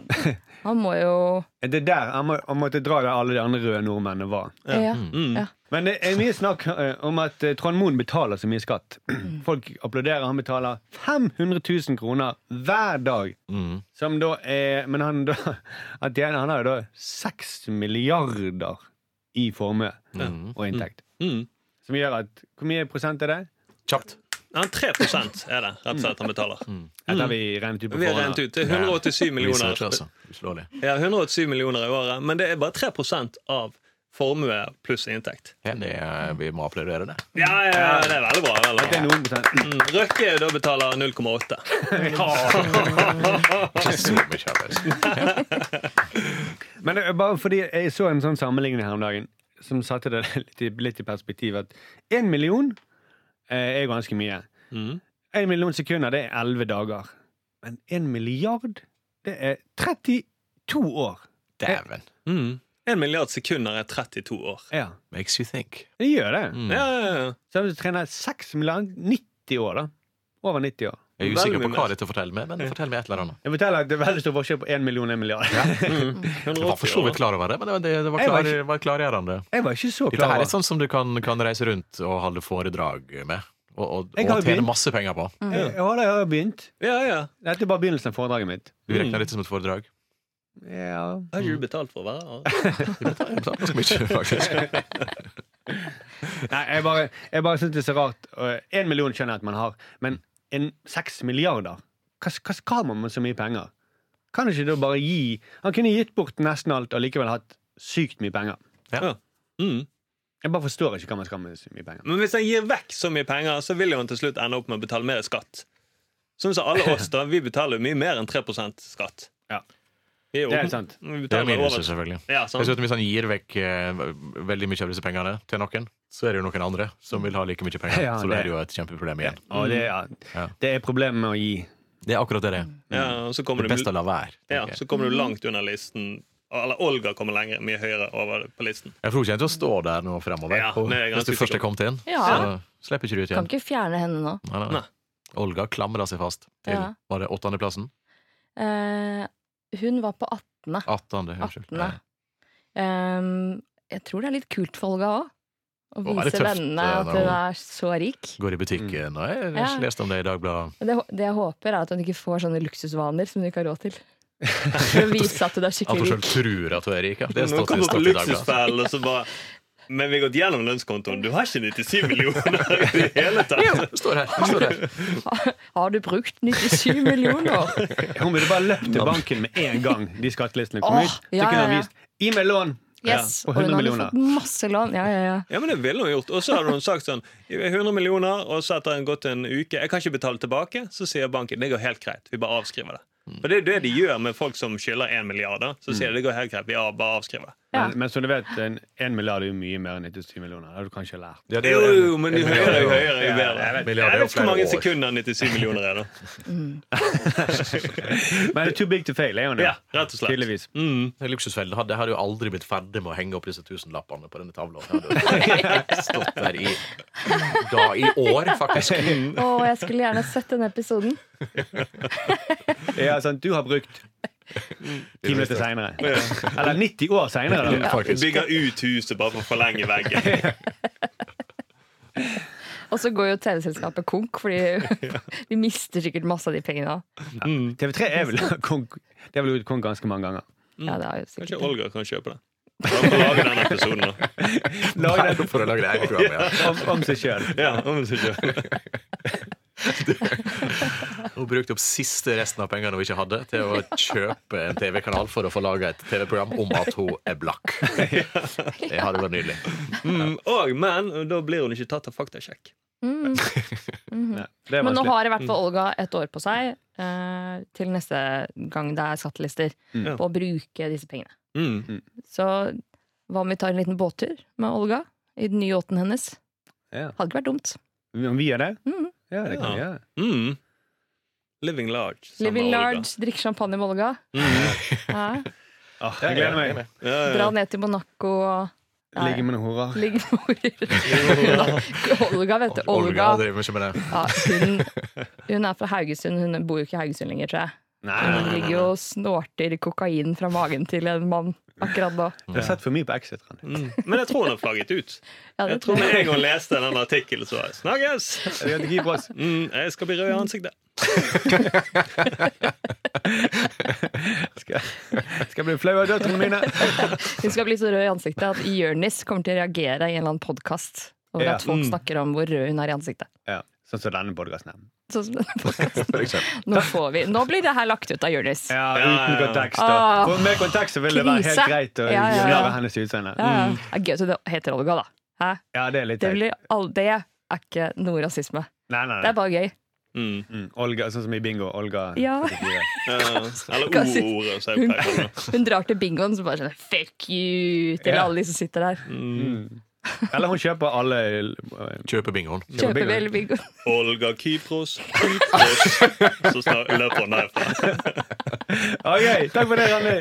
S3: Han må jo
S2: Er Det der, han, må, han måtte dra der alle de andre røde nordmennene var.
S3: Ja.
S4: Mm.
S3: Ja.
S2: Men det er mye snakk eh, om at eh, Trond Moen betaler så mye skatt.
S4: Mm.
S2: Folk applauderer. Han betaler 500 000 kroner hver dag.
S5: Mm.
S2: Som da er Men han, da, han tjener Han har jo da seks milliarder i formue
S5: Mm.
S2: og inntekt.
S4: Mm.
S2: Som gjør at Hvor mye prosent er det?
S5: Kjapt.
S4: Han 3 er det, rett og slett, han betaler.
S2: Dette har vi regnet ut på
S4: Mm. Vi har
S2: forhånd.
S4: regnet ut. Det er 187
S5: Research,
S4: millioner,
S5: altså. Uslåelig.
S4: ja, 187 millioner i året, men det er bare 3 av formue pluss inntekt.
S5: Ja, det, eh, vi må applaudere
S2: [LAUGHS]
S5: det.
S4: Ja, ja, ja, det er veldig bra. Veldig
S2: Det er
S4: bra.
S2: noen prosent.
S4: Mm, Røkke da betaler
S2: [LAUGHS]
S4: 0,8.
S5: Ikke så mye arbeid.
S2: Men det er bare fordi jeg så en sånn sammenligning her om dagen som satte det [LAUGHS] litt i, litt i perspektiv. At én million eh, er ganske mye.
S4: Mm.
S2: Én million sekunder, det er elleve dager. Men én milliard, det er 32 år.
S5: Dæven.
S4: Mm. En milliard sekunder er 32 år.
S2: Ja,
S5: Makes you think.
S2: det gjør det.
S5: Mm.
S4: Ja, ja, ja.
S2: Så hvis du trener seks milliarder 90 år, da. Over 90 år.
S5: Jeg er usikker
S4: Veldig
S5: på
S4: mye
S5: hva
S4: mer.
S5: dette forteller meg, men fortell meg et eller annet.
S2: Jeg forteller at det er veldig stor forskjell på én million og én milliard.
S4: Mm.
S5: Jeg var for
S4: 180
S5: så vidt
S4: år.
S5: klar over det, men det var, det, det var,
S2: Jeg var
S5: klar, var klargjørende.
S2: [LAUGHS] Jeg var ikke så
S5: Dette
S2: klar
S5: her er
S2: over
S5: sånn som du kan, kan reise rundt og holde foredrag med. Og, og,
S2: Jeg har jo
S5: og tjene
S2: begynt.
S5: masse penger på.
S2: Jeg jeg har jeg har begynt.
S4: Ja, ja.
S2: Dette er bare begynnelsen av foredraget mitt.
S5: Du regner dette som et foredrag.
S2: Ja.
S4: Har
S5: Mm.
S4: ikke du betalt for å være her?
S5: Det betaler jeg
S2: [LAUGHS]
S5: ganske mye, faktisk.
S2: Nei, jeg bare, jeg bare syns det er så rart. Én million skjønner jeg at man har, men en seks milliarder? Hva, hva skal man med så mye penger? Kan ikke da bare gi Han kunne gitt bort nesten alt og likevel hatt sykt mye penger.
S4: Mm.
S2: Jeg bare forstår ikke hva man skal med så mye penger.
S4: Men hvis han gir vekk så mye penger, så vil jo han til slutt ende opp med å betale mer skatt. Sånn som alle oss, da. Vi betaler jo mye mer enn 3 skatt.
S2: Ja.
S4: Vi er jo-
S2: Det er sant.
S4: Vi
S5: Det er
S4: betaler
S5: minuset,
S4: over.
S5: selvfølgelig.
S4: Ja, sant.
S5: Dessuten, hvis han gir vekk eh, veldig mye av disse pengene til noen, så er det jo noen andre som vil ha like mye
S3: [LAUGHS]
S5: penger.
S2: Ja,
S5: så da
S2: det-
S5: er det jo et kjempeproblem igjen.
S2: Og det, ja,
S5: Ja.
S2: det er problemet med å gi.
S5: Det er akkurat det det er.
S4: Ja, og så kommer
S5: Det
S4: du,
S5: beste å la være.
S4: ja,
S5: tenker jeg.
S4: så kommer du langt under listen. Eller Olga kommer lenger, mye høyere over på listen.
S5: Jeg tror ikke jeg til å stå der nå fremover.
S4: Ja,
S5: Og
S4: det er jeg
S5: hvis du
S4: ganske
S5: først
S4: sikker
S5: er kommet inn,
S3: Ja.
S5: så slipper ikke du ut
S3: Kan
S5: igjen.
S3: ikke fjerne henne nå.
S5: Nei, nei.
S4: Nei.
S5: Olga klamra seg fast til
S3: Ja.
S5: Var det åttendeplassen?
S3: Eh, hun var på 18.
S5: Attende, unnskyld.
S3: 18. Ehm, jeg tror det er litt kult for Olga òg. Å
S5: Å være
S3: vise
S5: tøft,
S3: vennene
S5: eh,
S3: at
S5: når
S3: hun
S5: hun-
S3: er så rik.
S5: Går i
S4: Mm.
S5: butikken og jeg har
S3: Ja.
S5: ikke lest om det i Dagbladet.
S3: Men Det, det jeg håper, er at hun ikke får sånne luksusvaner som hun ikke har råd
S5: [LAUGHS]
S3: til. For å vise at hun er
S5: At hun
S3: skikkelig
S5: selv
S3: rik.
S5: tror at hun er rik. Ja. Det
S4: Nå
S5: står
S4: kommer
S5: til
S4: på
S5: stopp i Dagbladet.
S4: luksusfellen, og så bare Men vi har gått gjennom lønnskontoen. Du har ikke 97 millioner i det hele tatt!
S5: Det står her. Det står
S4: [LAUGHS]
S5: her.
S3: Har du brukt 97
S5: [LAUGHS]
S3: millioner?
S2: Hun burde bare løpt til banken med en gang de skattelistene kom
S3: Åh,
S2: ut. Så
S3: ja,
S2: kunne
S3: ja,
S2: hun
S3: ja.
S2: vist Gi meg lån!
S3: Yes.
S2: Ja, og
S3: og hun
S2: 100
S3: hadde
S2: millioner.
S3: fått masse lån. Ja, ja, ja.
S4: Ja, men det ville hun gjort. Og så hadde hun sagt sånn 100 millioner, og så etter en gått en uke Jeg kan ikke betale tilbake. Så sier banken det går helt greit. Vi bare avskriver det. For det er jo det de gjør med folk som skylder 1 milliard. da. Så sier de det går helt greit. Vi av- bare avskriver det.
S3: Ja.
S2: Men, men som du vet, en, en milliard er jo mye mer enn 97 millioner. Det har du kanskje lært.
S5: Ja, det er
S4: Jo,
S5: en-
S4: jo, men jo
S5: en
S4: høyere, jo
S5: milliard.
S4: høyere, jo
S2: Ja,
S4: bedre.
S2: jeg vet.
S5: Milliard
S4: Jeg
S5: er jo
S4: vet ikke hvor mange
S5: flere år.
S4: sekunder 97 millioner er, da.
S2: Men det er too big to fail, er hun jo.
S4: Ja, rett og slett.
S2: Tydeligvis.
S4: Mm.
S5: Det er Luksusfellen det hadde, det hadde jo aldri blitt ferdig med å henge opp disse tusenlappene på denne tavla. Det hadde jo Stått der i, da, i år, faktisk. [LAUGHS]
S3: Å, jeg skulle gjerne sett den episoden.
S2: Ja, sant, du har brukt ti minutter seinere. Eller 90 år seinere, da.
S5: faktisk.
S4: Bygger ut huset bare for å forlenge veggen.
S3: Og så går jo TV-selskapet konk,
S5: [LAUGHS]
S3: fordi de mister sikkert masse av de pengene. da.
S2: TV3 er vel konk, det er vel ut konk ganske mange ganger.
S5: Mm.
S3: Ja, det er jo
S4: Kanskje
S3: sikkert.
S4: Olga kan kjøpe det. Bare for å lage den episoden, da.
S2: Lag
S5: Nei,
S2: det
S5: nå får jeg lage det eget program igjen.
S2: om, om seg sjøl.
S4: Ja, om du ikke
S5: Hun brukte opp siste resten av pengene hun ikke hadde, til å kjøpe en TV-kanal for å få laga et TV-program om at hun er [LAUGHS] blakk. Det hadde vært nydelig.
S4: Mm, og, men da blir hun ikke tatt av faktasjekk.
S3: Mm.
S5: [LAUGHS]
S2: Nei, det er
S3: Men nå
S2: vanskelig.
S3: har i hvert fall Olga et år på seg eh, til neste gang det er skattelister,
S2: Mm.
S3: på å bruke disse pengene.
S4: Mm.
S3: Så hva om vi tar en liten båttur med Olga i den nye yachten hennes?
S2: Ja.
S3: Hadde ikke vært dumt.
S2: Om vi gjør det?
S3: Mm.
S2: Ja, det kan vi gjøre.
S4: Mm. Living large. sammen
S3: Living
S4: med Olga.
S3: large, drikke champagne med Olga. Ja.
S2: Åh, jeg gleder meg.
S4: Ja, ja. [LAUGHS]
S3: Dra ned til Monaco og Nei.
S2: Ligge med noen horer.
S3: ligge med horer. Olga, vet du. Olga.
S5: Olga driver mye med det.
S3: Ja, hun, hun er fra Haugesund. Hun bor jo ikke i Haugesund lenger, tror jeg.
S2: Nei,
S3: Hun ligger jo og snorter kokain fra magen til en mann akkurat nå.
S2: jeg har sett for mye på Exit. Randi.
S4: Mm. Men jeg tror hun har flagget ut.
S3: Ja, det
S4: Jeg tror Med en gang hun leste den artikkelen, så var jeg, Snakkes!
S2: Vi hadde ikke gitt oss.
S4: Mm, jeg skal bli rød i ansiktet.
S2: Skal, skal jeg bli flau av døtrene mine.
S3: Hun skal bli så rød i ansiktet at Jonis kommer til å reagere i en eller annen podkast over
S2: Ja.
S3: at folk
S4: Mm.
S3: snakker om hvor rød hun er i ansiktet.
S2: Ja. Sånn som denne podkasten.
S3: Sånn som denne podcasten.
S5: For eksempel.
S3: Nå, får vi. Nå blir det her lagt ut av Jonis.
S2: Ja,
S4: Ja, ja,
S2: uten
S4: ja.
S2: kontekst. da.
S3: Åh,
S2: For med kontekst så vil det være helt
S3: Ah. krise.
S2: greit å
S3: Ja, ja, ja.
S2: gjøre hennes utseende.
S3: Ja, ja. Det er gøy at det heter Olga, da. Hæ?
S2: Ja, det er litt
S3: Det,
S2: teit.
S3: blir all, det er ikke noe rasisme.
S2: Nei, nei,
S3: Det
S2: nei.
S3: er bare gøy.
S4: Mm.
S2: Mm, Olga, sånn som i bingo. Olga.
S3: Ja.
S2: 44.
S4: Ja, eller
S3: Kanskje-
S4: O-ordet. som jeg
S3: Hun,
S4: pleier å kalle det.
S3: hun drar til bingoen så bare sånn Fuck you! Til
S2: Ja.
S3: alle de som sitter der.
S4: Mm.
S2: Eller hun kjøper alle eh,
S5: Kjøpe bingoen.
S2: Kjøper
S3: Kjøper vel bingo.
S4: Olga Kypros. Kypros. Så snar- løper han derfra.
S2: OK, takk for det, Randi.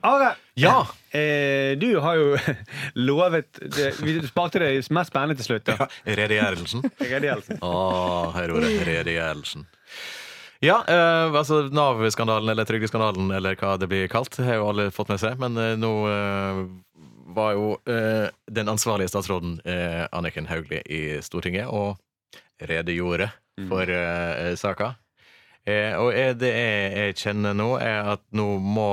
S2: Are,
S5: Ja!
S2: eh, du har jo [LAUGHS] lovet det, Vi sparte det mest spennende til slutt. da.
S5: Redegjørelsen.
S2: Redegjørelsen.
S5: Åh, her var det redegjørelsen. Ja, eh, altså Nav-skandalen eller trygdeskandalen eller hva det blir kalt, har jo alle fått med seg. Men eh, nå eh, var jo eh, den ansvarlige statsråden eh, Anniken Hauglie i Stortinget og redegjorde for eh, saka. Eh, og eh, det jeg, jeg kjenner nå, er at nå må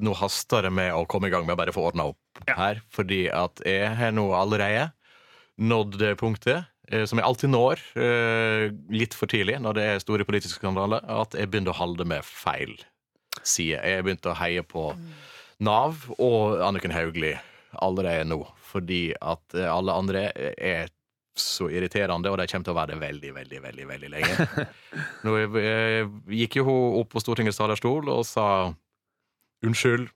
S5: Nå haster det med å komme i gang med å bare få ordna opp her, fordi at jeg har nå allerede nådd det punktet, eh, som jeg alltid når eh, litt for tidlig når det er store politiske skandaler, at jeg begynte å holde med feil side. Jeg begynte å heie på Nav og Anniken Hauglie allerede nå, fordi at eh, alle andre er så irriterende, og de kommer til å være det veldig, veldig, veldig, veldig lenge. Nå eh, gikk jo hun opp på Stortingets talerstol og sa unnskyld,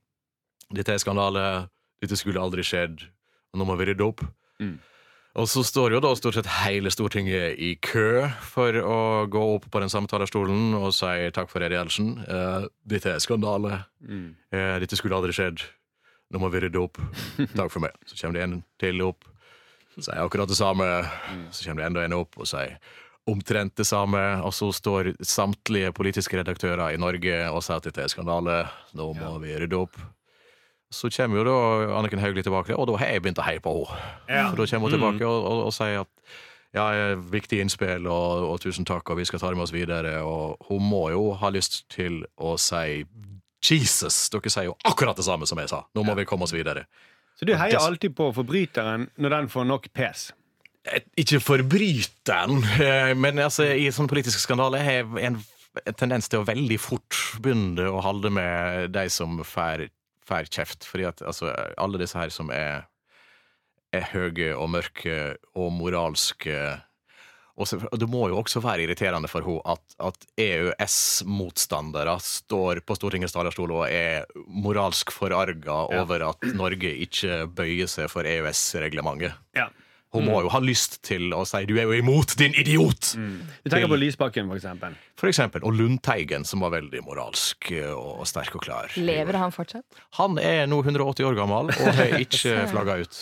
S5: dette er skandale, dette skulle aldri skjedd, og nå må vi rydde opp. Og så står jo da stort sett hele Stortinget i kø for å gå opp på den samme talerstolen og si takk for redegjørelsen. Eh, dette er skandale.
S2: Mm.
S5: Eh, dette skulle aldri skjedd. Nå må vi rydde opp. Takk for meg. Så kommer det en til opp, sier akkurat det samme. Så kommer det enda en opp og sier omtrent det samme. Og så står samtlige politiske redaktører i Norge og sier at dette er skandale. Nå må vi rydde opp. Så kommer jo da Anniken Hauglie tilbake, og da har jeg begynt å heie på henne. For da kommer hun tilbake og, og, og sier at ja, eh, viktig innspill, og, og tusen takk, og vi skal ta det med oss videre. Og hun må jo ha lyst til å si Jesus, dere sier jo akkurat det samme som jeg sa. Nå må vi komme oss videre.
S2: Så du heier alltid på forbryteren når den får nok pes.
S5: Eh, Ikke forbryteren, eh, men altså, i sånne politiske skandaler har jeg en en tendens til å veldig fort begynne å holde med de som får får kjeft. Fordi at altså, alle disse her som er, er høye og mørke og moralske og, så, og Det må jo også være irriterende for henne at, at EØS-motstandere står på Stortingets talerstol og er moralsk forarga over at Norge ikke bøyer seg for E EØS-reglementet.
S2: Ja.
S5: Hun må jo ha lyst til å si 'du er jo imot, din idiot'!
S2: Du tenker på Lysbakken, for eksempel.
S5: For eksempel. Og Lundteigen, som var veldig moralsk eh, og, og sterk og klar.
S3: Lever han fortsatt?
S5: Han er nå 180 år gammel og har ikke flagga ut.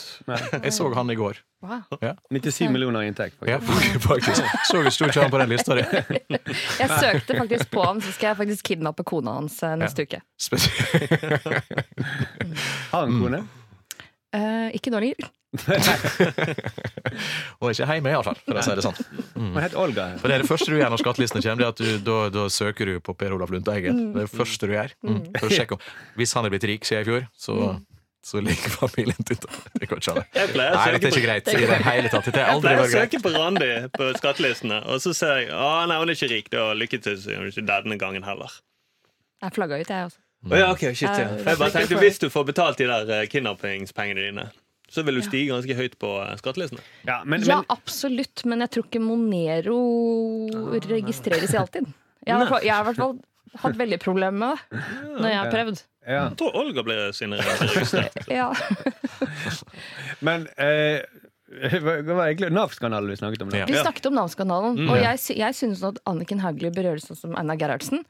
S5: Jeg så han i går.
S3: Wow.
S5: Ja,
S2: 97 millioner i inntekt. faktisk.
S5: ja faktisk. Så jeg sto ikke han på den lista di.
S3: Jeg søkte faktisk på han, så skal jeg faktisk kidnappe kona hans eh, neste uke.
S5: Spesielt.
S2: Har han kone?
S3: Eh, ikke nå lenger.
S5: Og ikke hjemme, iallfall, for å si det sånn.
S2: Hun heter Olga.
S5: For det er det første du gjør når skattelistene kommer, det er at du, da, da søker du på Per Olaf Lundteigen. Det er det første du gjør. Mm. For å sjekke om Hvis han er blitt rik siden i fjor, så, så ligger familien din der. Det går ikke an.
S4: Mm. Jeg pleier å
S5: Nei,
S4: søke
S5: dette er ikke
S4: på-
S5: greit i det hele tatt. Dette har
S4: Jeg
S5: aldri
S4: pleier å
S5: vært greit.
S4: søke på Randi på skattelistene, og så ser jeg å nei, hun er ikke rik. Da lykke til, sier hun ikke denne gangen heller.
S3: Jeg flagga ut, jeg også.
S4: Å ja, ok, shit, ja.
S3: Eh,
S4: For Jeg bare tenkte, Hvis du får betalt de der eh, kidnappingspengene dine, så vil du stige ganske høyt på eh, skattelistene.
S2: Ja, men,
S3: ja,
S2: men,
S3: absolutt, men jeg tror ikke Monero registreres i alltid. Jeg har i hvert fall- jeg har i hvert fall hatt veldig problemer med det når jeg har prøvd.
S2: ja.
S4: Jeg tror Olga blir sin
S5: [LAUGHS]
S4: registrert.
S3: Ja.
S2: men eh, [LAUGHS] det var egentlig NAV-skandalen vi snakket om. nå.
S5: Ja.
S3: Vi snakket om Nav-skandalen, og jeg, sy- jeg synes nå at Anniken Hauglie bør gjøre sånn som Einar Gerhardsen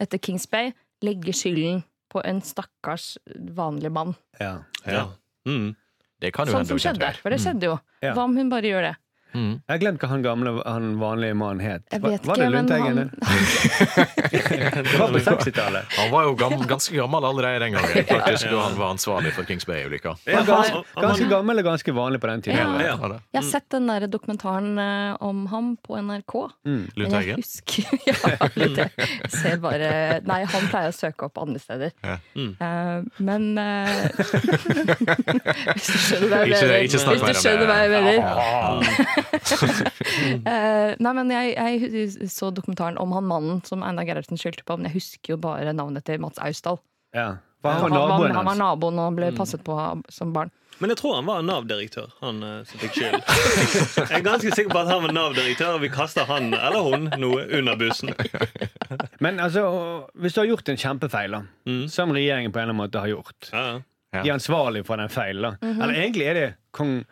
S3: etter Kings Bay. Legge skylden på en stakkars vanlig mann.
S2: Ja.
S4: Ja. Mm.
S5: Det kan jo
S3: Sånn
S5: hende
S3: som
S4: sånn
S5: hun kjente
S3: skjedde.
S5: her.
S3: For det skjedde jo.
S2: Ja.
S3: Hva om hun bare gjør det?
S5: Mm.
S2: Jeg har glemt hva han gamle, han vanlige mannen het.
S3: Jeg
S2: Var-
S3: vet
S2: var det
S3: ikke, men
S2: Lundteigen?
S3: han,
S2: det? [LAUGHS] Det var på 60-tallet.
S5: Han var jo gam, ganske gammel allerede den gangen, faktisk, da han var ansvarlig for Kings Bay-ulykka.
S4: Ja,
S2: Han var
S4: han-
S2: Ganske,
S4: han-
S2: ganske gammel og ganske vanlig på den tiden.
S3: Ja.
S5: Det var det.
S3: Jeg har sett den der dokumentaren eh, om ham på NRK.
S2: Mm.
S3: Men jeg
S5: Lundteigen.
S3: husker [LAUGHS] ja, Lundteigen. Ser bare Nei, han pleier å søke opp andre steder.
S5: Ja.
S3: Eh, men eh, [LAUGHS] Hvis du skjønner hva jeg
S5: Ikke,
S3: mener.
S5: ikke snakk
S3: Hvis
S5: mer
S3: du
S5: om
S3: skjønner hva jeg
S5: det.
S3: mener.
S5: Ja.
S3: Eh, nei, men jeg, jeg hus- så dokumentaren om han mannen som Einar Gerhardsen skyldte på, men jeg husker jo bare navnet til Mats Austdal.
S2: Ja. For han
S3: Han,
S2: var
S3: var-
S2: naboen
S3: han var
S2: hans.
S3: naboen og ble passet på som barn.
S4: Men jeg tror han var Nav-direktør, han eh, som fikk skyld.
S5: [LAUGHS]
S4: Jeg er ganske sikker på at han var Nav-direktør, og vi kaster han eller hun noe under bussen.
S2: Men altså, hvis du har gjort en kjempefeil, da,
S4: Mm.
S2: som regjeringen på en eller annen måte har gjort
S4: Ja, ja.
S2: De er ansvarlige for den feilen. da.
S3: Mhm.
S2: Eller egentlig er det kong,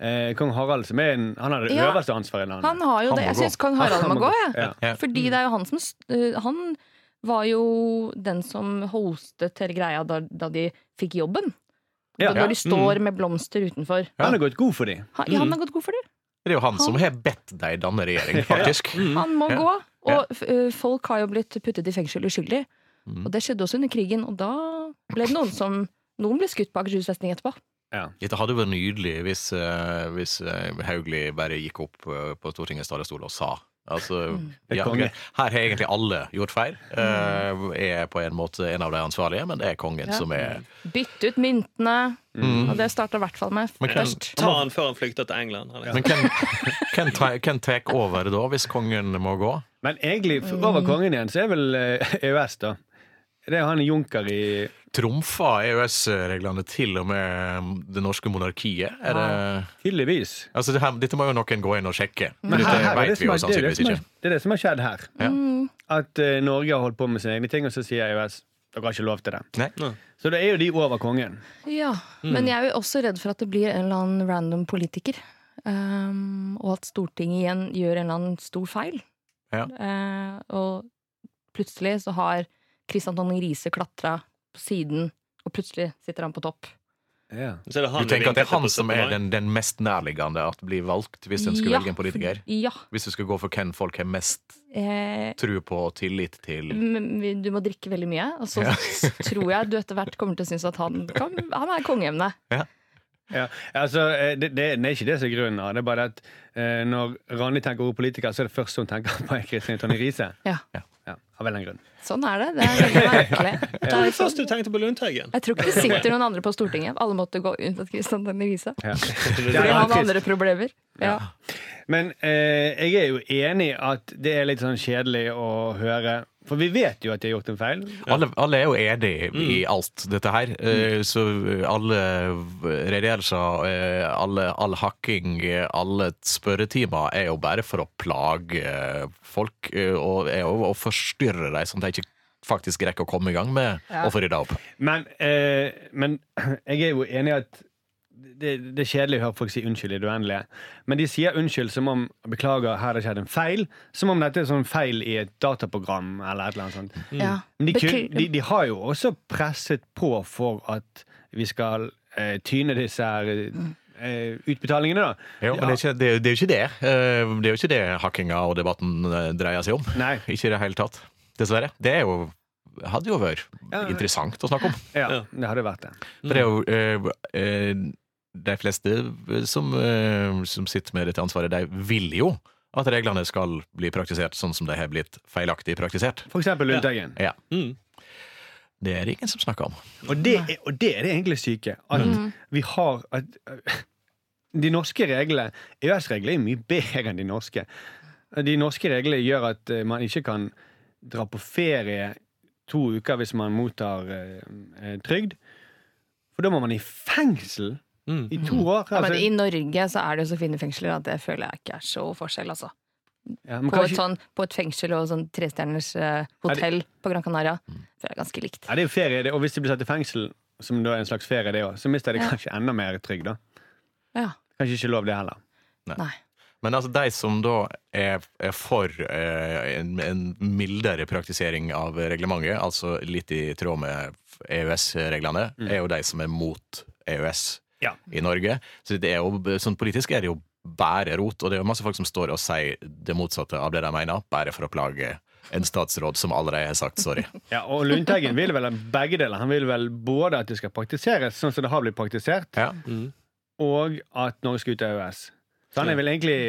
S2: eh, kong Harald som er en, Han har det
S3: Ja.
S2: øverste ansvaret i landet.
S3: Han har jo
S5: Han
S3: det.
S5: må
S3: Jeg
S5: gå.
S3: syns kong Harald må gå, jeg.
S2: Ja.
S5: Ja.
S3: Fordi det er jo han som s- eh, Han var jo den som hostet hele greia da, da de fikk jobben.
S2: Ja.
S3: Da Når de står
S5: Mm.
S3: med blomster utenfor.
S5: Ja.
S2: Han har gått god for dem.
S3: Han, ja,
S5: Mm.
S3: han har gått god for det.
S5: Det er jo han som har bedt deg danne regjering, faktisk.
S3: Han må
S5: Ja.
S3: gå.
S5: Ja.
S3: Og f- eh, folk har jo blitt puttet i fengsel uskyldig.
S5: Mm.
S3: Og det skjedde også under krigen. Og da ble det noen som Noen ble skutt på Akershus festning etterpå.
S5: Dette hadde vært nydelig hvis, eh, hvis eh, Hauglie bare gikk opp eh, på Stortingets talerstol og sa Altså,
S2: Mm. Det er
S5: ja,
S2: konge. Mm.
S5: ok, Her har egentlig alle gjort feil. Eh, er på en måte en av de ansvarlige, men det er kongen
S3: Ja.
S5: som er
S3: Bytte ut myntene.
S5: Mm.
S3: Og det starta i hvert fall med
S5: Men hvem-
S3: først.
S4: Ta han før han flykter til England. Eller?
S2: [LAUGHS]
S5: Men hvem- hvem tar- hvem tar over da, hvis kongen må gå?
S2: Men egentlig, for-
S5: Mm.
S2: over kongen igjen, så er vel eh, EØS, da. Det er han Junker i
S5: Trumfer EØS-reglene til og med mm, det norske monarkiet? Er det
S2: Tydeligvis.
S5: Altså, det her, dette må jo noen gå inn og sjekke. Men
S2: Men her-
S5: dette
S2: her er det
S5: vet vi
S2: som
S5: jo
S2: er- det er det
S5: sannsynligvis
S2: som er-
S5: ikke.
S2: Det er det som har skjedd her.
S5: Ja.
S3: Mm.
S2: At eh, Norge har holdt på med sine egne ting, og så sier EØS dere har ikke lov til det.
S5: Nei.
S2: Så det er jo de over kongen.
S3: Ja,
S5: Mm.
S3: Men jeg er jo også redd for at det blir en eller annen random politiker. ehm, og at Stortinget igjen gjør en eller annen stor feil.
S5: Ja.
S3: Eh, og plutselig så har Kristian Tonning Riise klatra på siden, og plutselig sitter han på topp.
S2: Ja.
S4: Så er det han
S5: Du tenker at det er han
S4: vi
S5: som
S4: vinket til
S5: er
S4: på
S5: den, den mest nærliggende at blir valgt, hvis en skulle
S3: Ja,
S5: velge en politiker?
S3: Ja.
S5: Hvis du skal gå for hvem folk har mest
S3: Eh,
S5: tro på og tillit til?
S3: men vi- du må drikke veldig mye, og så
S5: Ja.
S3: tror jeg du etter hvert kommer til å synes at han, kan, han er kongeemne.
S2: Ja, altså, eh, det, det, det er ikke det som er grunnen. da. Det er bare at eh, når Randi tenker ordet politiker, så er det første hun tenker på er Kristin Tonje Riise.
S3: Ja.
S2: Ja, av en eller annen grunn.
S3: Sånn er det. Det er veldig merkelig. Det
S4: Det var
S3: er
S4: det
S3: sånn.
S4: første du tenkte på Lundteigen.
S3: Jeg tror ikke det sitter noen andre på Stortinget. Alle måtte gå unntatt Kristian Tonning Riise.
S2: Ja. Ja,
S4: Det
S3: Fordi
S2: ja, Mm.
S3: han har
S2: trist.
S3: andre problemer. Ja.
S2: Men eh, jeg er jo enig i at det er litt sånn kjedelig å høre. For vi vet jo at de har gjort en feil.
S5: Alle, alle er jo enig i alt dette her, eh, så alle redegjørelser, eh, alle, all hakking, eh, alle spørretimer er jo bare for å plage eh, folk eh, og, er jo å forstyrre dem, sånn at de ikke faktisk rekker å komme i gang med
S3: Ja.
S5: å få rydda opp.
S2: Men, eh, men [CLEARS THROAT] jeg er jo enig i at det, det er kjedelig å høre folk si unnskyld i det uendelige. Men de sier unnskyld som om beklager, her har det skjedd en feil. Som om dette er sånn feil i et dataprogram eller et eller annet sånt.
S3: Ja.
S2: Men de, kun,
S3: Bekl-
S2: de, de har jo også presset på for at vi skal eh, tyne disse her eh, utbetalingene, da.
S5: Jo, men det er, ikke, det, er- det er jo ikke det. Eh, Det er jo ikke det hakkinga og debatten eh, dreier seg om.
S2: Nei.
S5: Ikke i det hele tatt. Dessverre. Det er jo hadde jo vært
S2: Ja, ja.
S5: interessant å snakke om.
S2: Ja,
S4: Ja.
S2: det hadde vært det.
S5: For det er jo eh, eh, De fleste som, eh, som sitter med dette ansvaret, de vil jo at reglene skal bli praktisert sånn som de har blitt feilaktig praktisert.
S2: For eksempel Lundteigen.
S5: Ja,
S4: Mm.
S5: Det er det ingen som snakker om.
S2: Og det, er, og det er det egentlig syke.
S3: Mm.
S2: At vi har at, øh, De norske reglene EØS-reglene er mye bedre enn de norske. De norske reglene gjør at eh, man ikke kan dra på ferie to uker hvis man mottar eh, eh, trygd. For da må man i fengsel
S4: Mm.
S2: i to år.
S3: Ja, men
S2: altså.
S3: I Norge så er det jo så fine fengsler at det føler jeg ikke er så forskjell, altså.
S2: Ja, men
S3: På et,
S2: kanskje-
S3: sånn, på et fengsel og sånn trestjerners eh, hotell på Gran Canaria. Så er det ganske likt.
S2: Ja, det er jo ferie, det. Og hvis de blir satt i fengsel, som da er en slags ferie, det òg, så mister de
S3: Ja.
S2: kanskje enda mer trygd, da.
S3: Ja.
S2: Kanskje ikke lov, det heller.
S3: Nei.
S5: Men altså, de som da er, er for eh, en, en mildere praktisering av reglementet, altså litt i tråd med E EØS-reglene, er jo de som er mot E EØS
S2: Ja.
S5: i Norge. Så det er jo, sånn politisk er det jo bare rot. Og det er jo masse folk som står og sier det motsatte av det de mener, bare for å plage en statsråd som allerede har sagt sorry.
S2: Ja, og Lundteigen vil vel begge deler. Han vil vel både at det skal praktiseres sånn som det har blitt praktisert,
S5: Ja.
S4: mm.
S2: og at Norge skal ut av EØS. Så han er vel egentlig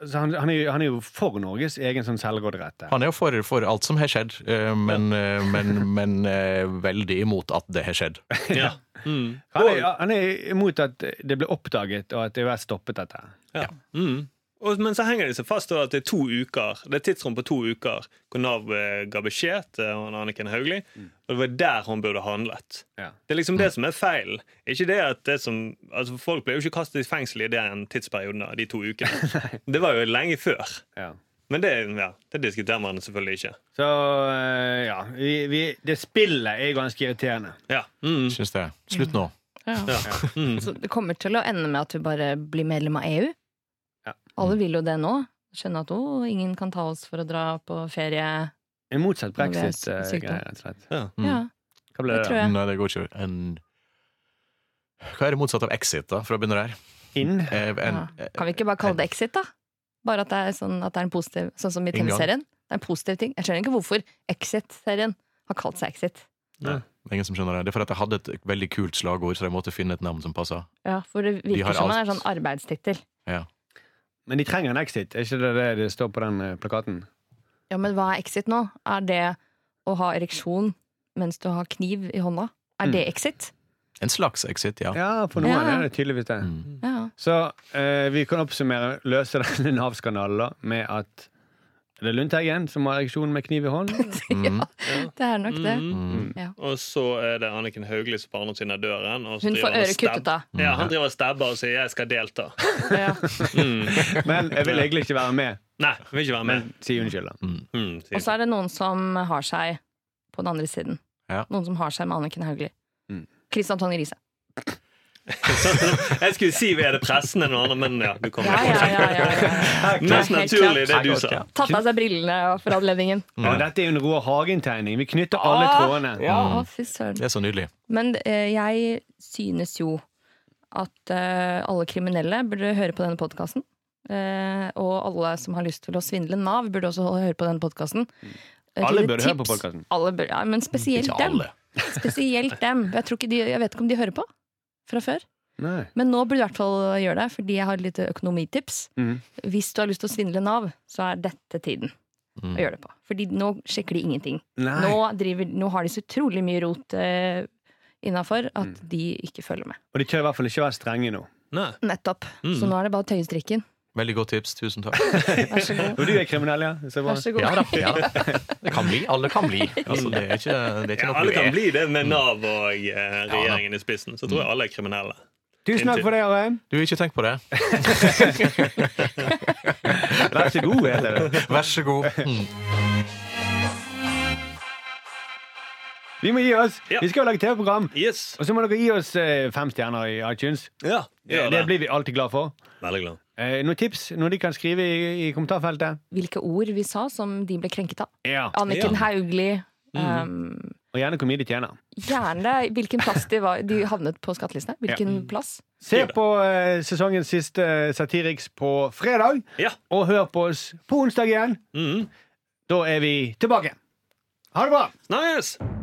S2: så han, han, er, jo- han er jo for Norges egen sånn selvråderett. der.
S5: Han er jo for, for alt som har skjedd, eh, men, eh, men, men eh, veldig imot at det har skjedd.
S4: [LAUGHS] Ja. Mm.
S2: Han er, han er imot at det ble oppdaget, og at EØS stoppet dette.
S4: Ja. Mm. Og, men så henger de seg fast da at det er to uker Det er et tidsrom på to uker hvor Nav eh, ga beskjed til han Anniken Hauglie. Og det var der hun burde handlet.
S2: Ja.
S4: Det er liksom det som er feilen. Ikke det at det som altså Folk ble jo ikke kastet i fengsel i den tidsperioden, da, de to [LAUGHS] ukene. det var jo lenge før.
S2: Ja.
S4: Men det, ja, det diskuterer man selvfølgelig ikke.
S2: Så eh, ja vi, vi, Det spillet er ganske irriterende.
S4: Ja. [LAUGHS] Mm.
S5: Syns det. Slutt nå.
S3: Ja. Så det kommer til å ende med at vi bare blir medlem av EU.
S2: Ja.
S3: Alle vil jo det nå. Skjønne at å, ingen kan ta oss for å dra på ferie.
S2: En motsatt
S3: Sykdom.
S2: brexit-greie, rett og slett.
S5: Mm.
S3: Ja,
S2: Hva ble
S3: det
S2: det?
S3: tror jeg.
S5: Nei, det går ikke en Hva er det motsatte av exit, da, for å begynne der?
S2: da? Inn?
S5: Eh, en,
S3: Ja. Kan vi ikke bare kalle det exit, da? Bare at det er sånn, at det er en positiv Sånn som i
S5: Inngang.
S3: TV-serien. Det er en positiv ting. Jeg skjønner ikke hvorfor Exit-serien har kalt seg Exit.
S5: Ingen som skjønner det. Det er fordi at jeg hadde et veldig kult slagord, så jeg måtte finne et navn som passa.
S3: Ja, For det
S5: De har
S3: virker som det er
S5: alt.
S3: sånn arbeidstittel.
S5: Ja.
S2: Men de trenger en exit, er ikke det det det står på den eh, plakaten?
S3: Ja, men hva er exit nå? Er det å ha ereksjon mens du har kniv i hånda? Er
S5: Mm.
S3: det exit?
S5: En slags exit, ja.
S2: Ja, Mm. for noen
S3: Ja.
S2: er det tydeligvis det.
S3: Ja.
S2: Så eh, vi kan oppsummere, løse [LAUGHS] denne Nav-skandalen da, med at det er Lundteigen som har ereksjon med kniv i [LAUGHS] hånden.
S5: Mm.
S3: [LAUGHS] Det er nok det.
S4: Og så er det Anniken Hauglie som barner sine av døren. Og så
S3: Hun
S4: driver
S3: får
S4: han og
S3: øret
S4: stab-
S3: kuttet av.
S4: Ja, han driver og stabber og sier 'jeg skal delta'.
S5: [LAUGHS]
S4: Mm.
S3: Ja.
S4: [LAUGHS]
S2: Men jeg vil egentlig ikke være med.
S4: Nei, hun vil ikke være med.
S2: Men si unnskyld, da.
S4: Mm, sier
S3: Og så er det noen som har seg på den andre siden.
S5: Ja.
S3: Noen som har seg med Anniken Hauglie.
S2: Mm.
S3: Christian Tonje
S5: [LAUGHS]
S3: Riise.
S4: Så- [LAUGHS] Jeg skulle si vi er det pressen eller noe annet, men ja, du kom
S3: sånn- Ja, ja, ja, ja, ja.
S4: Mest
S3: Helt
S4: naturlig det
S5: klart.
S4: du sa.
S3: Tatt av seg brillene for
S2: [LAUGHS]
S3: anledningen.
S5: Mm.
S2: Ja, dette er jo en Roar Hagen-tegning. Vi knytter alle
S3: Ah!
S2: trådene.
S3: Å, fy søren.
S5: Det er så nydelig.
S3: Men eh, jeg synes jo at eh, alle kriminelle burde høre på denne podkasten. Eh, og alle som har lyst til å svindle Nav, burde også høre på denne podkasten.
S2: Alle burde høre på podcasten.
S3: Alle burde, ja, men spesielt
S5: Ikke
S3: dem.
S5: alle.
S3: [LAUGHS] Spesielt dem. Jeg, tror ikke de, jeg vet ikke om de hører på fra før.
S2: Nei.
S3: Men nå burde du i hvert fall gjøre det, fordi jeg har litt økonomitips.
S2: Mhm.
S3: Hvis du har lyst til å svindle Nav, så er dette tiden
S5: Mm.
S3: å gjøre det på. Fordi nå sjekker de ingenting.
S2: Nei.
S3: Nå, driver, nå har de så utrolig mye rot eh, innafor at de ikke følger med.
S2: Og de tør i hvert fall ikke være strenge nå.
S4: Nei.
S3: Nettopp. Så nå er det bare å tøye strikken.
S5: Veldig godt tips. Tusen takk.
S3: Vær så god. [LAUGHS]
S2: Og du er kriminell, ja? Så bra.
S3: Vær så god.
S5: Ja da. Ja, da. Det kan bli. Alle kan bli. Altså, det er ikke, det er
S4: Ja,
S5: ikke noe
S4: alle kan
S5: du er.
S4: bli det
S3: Mm.
S4: med Nav og eh, regjeringen i spissen. Så tror jeg alle er kriminelle.
S2: Tusen takk for det, Arheim.
S5: Du, ikke tenk på det.
S2: Vær så god, heter det.
S5: Vær så god. Mm.
S2: Vi må gi oss.
S4: Ja.
S2: Vi skal jo lage TV-program.
S4: Yes.
S2: Og så må dere gi oss eh, fem stjerner i iTunes.
S4: Ja,
S2: Det,
S4: gjør det.
S2: blir vi alltid glad for.
S4: Veldig glad.
S2: Eh, noen tips noe de kan skrive i, i kommentarfeltet?
S3: Hvilke ord vi sa som de ble krenket av.
S2: Ja.
S3: Anniken
S4: Ja.
S3: Hauglie. Um,
S2: Og gjerne hvor mye de tjener.
S3: gjerne hvilken plass de var De havnet på skattelistene. Hvilken plass?
S2: Se
S4: Skriv det.
S2: på eh, sesongens siste eh, Satiriks på fredag,
S4: Ja.
S2: og hør på oss på onsdag igjen.
S4: Mm.
S2: Da er vi tilbake. Ha det bra!
S4: Snakkes!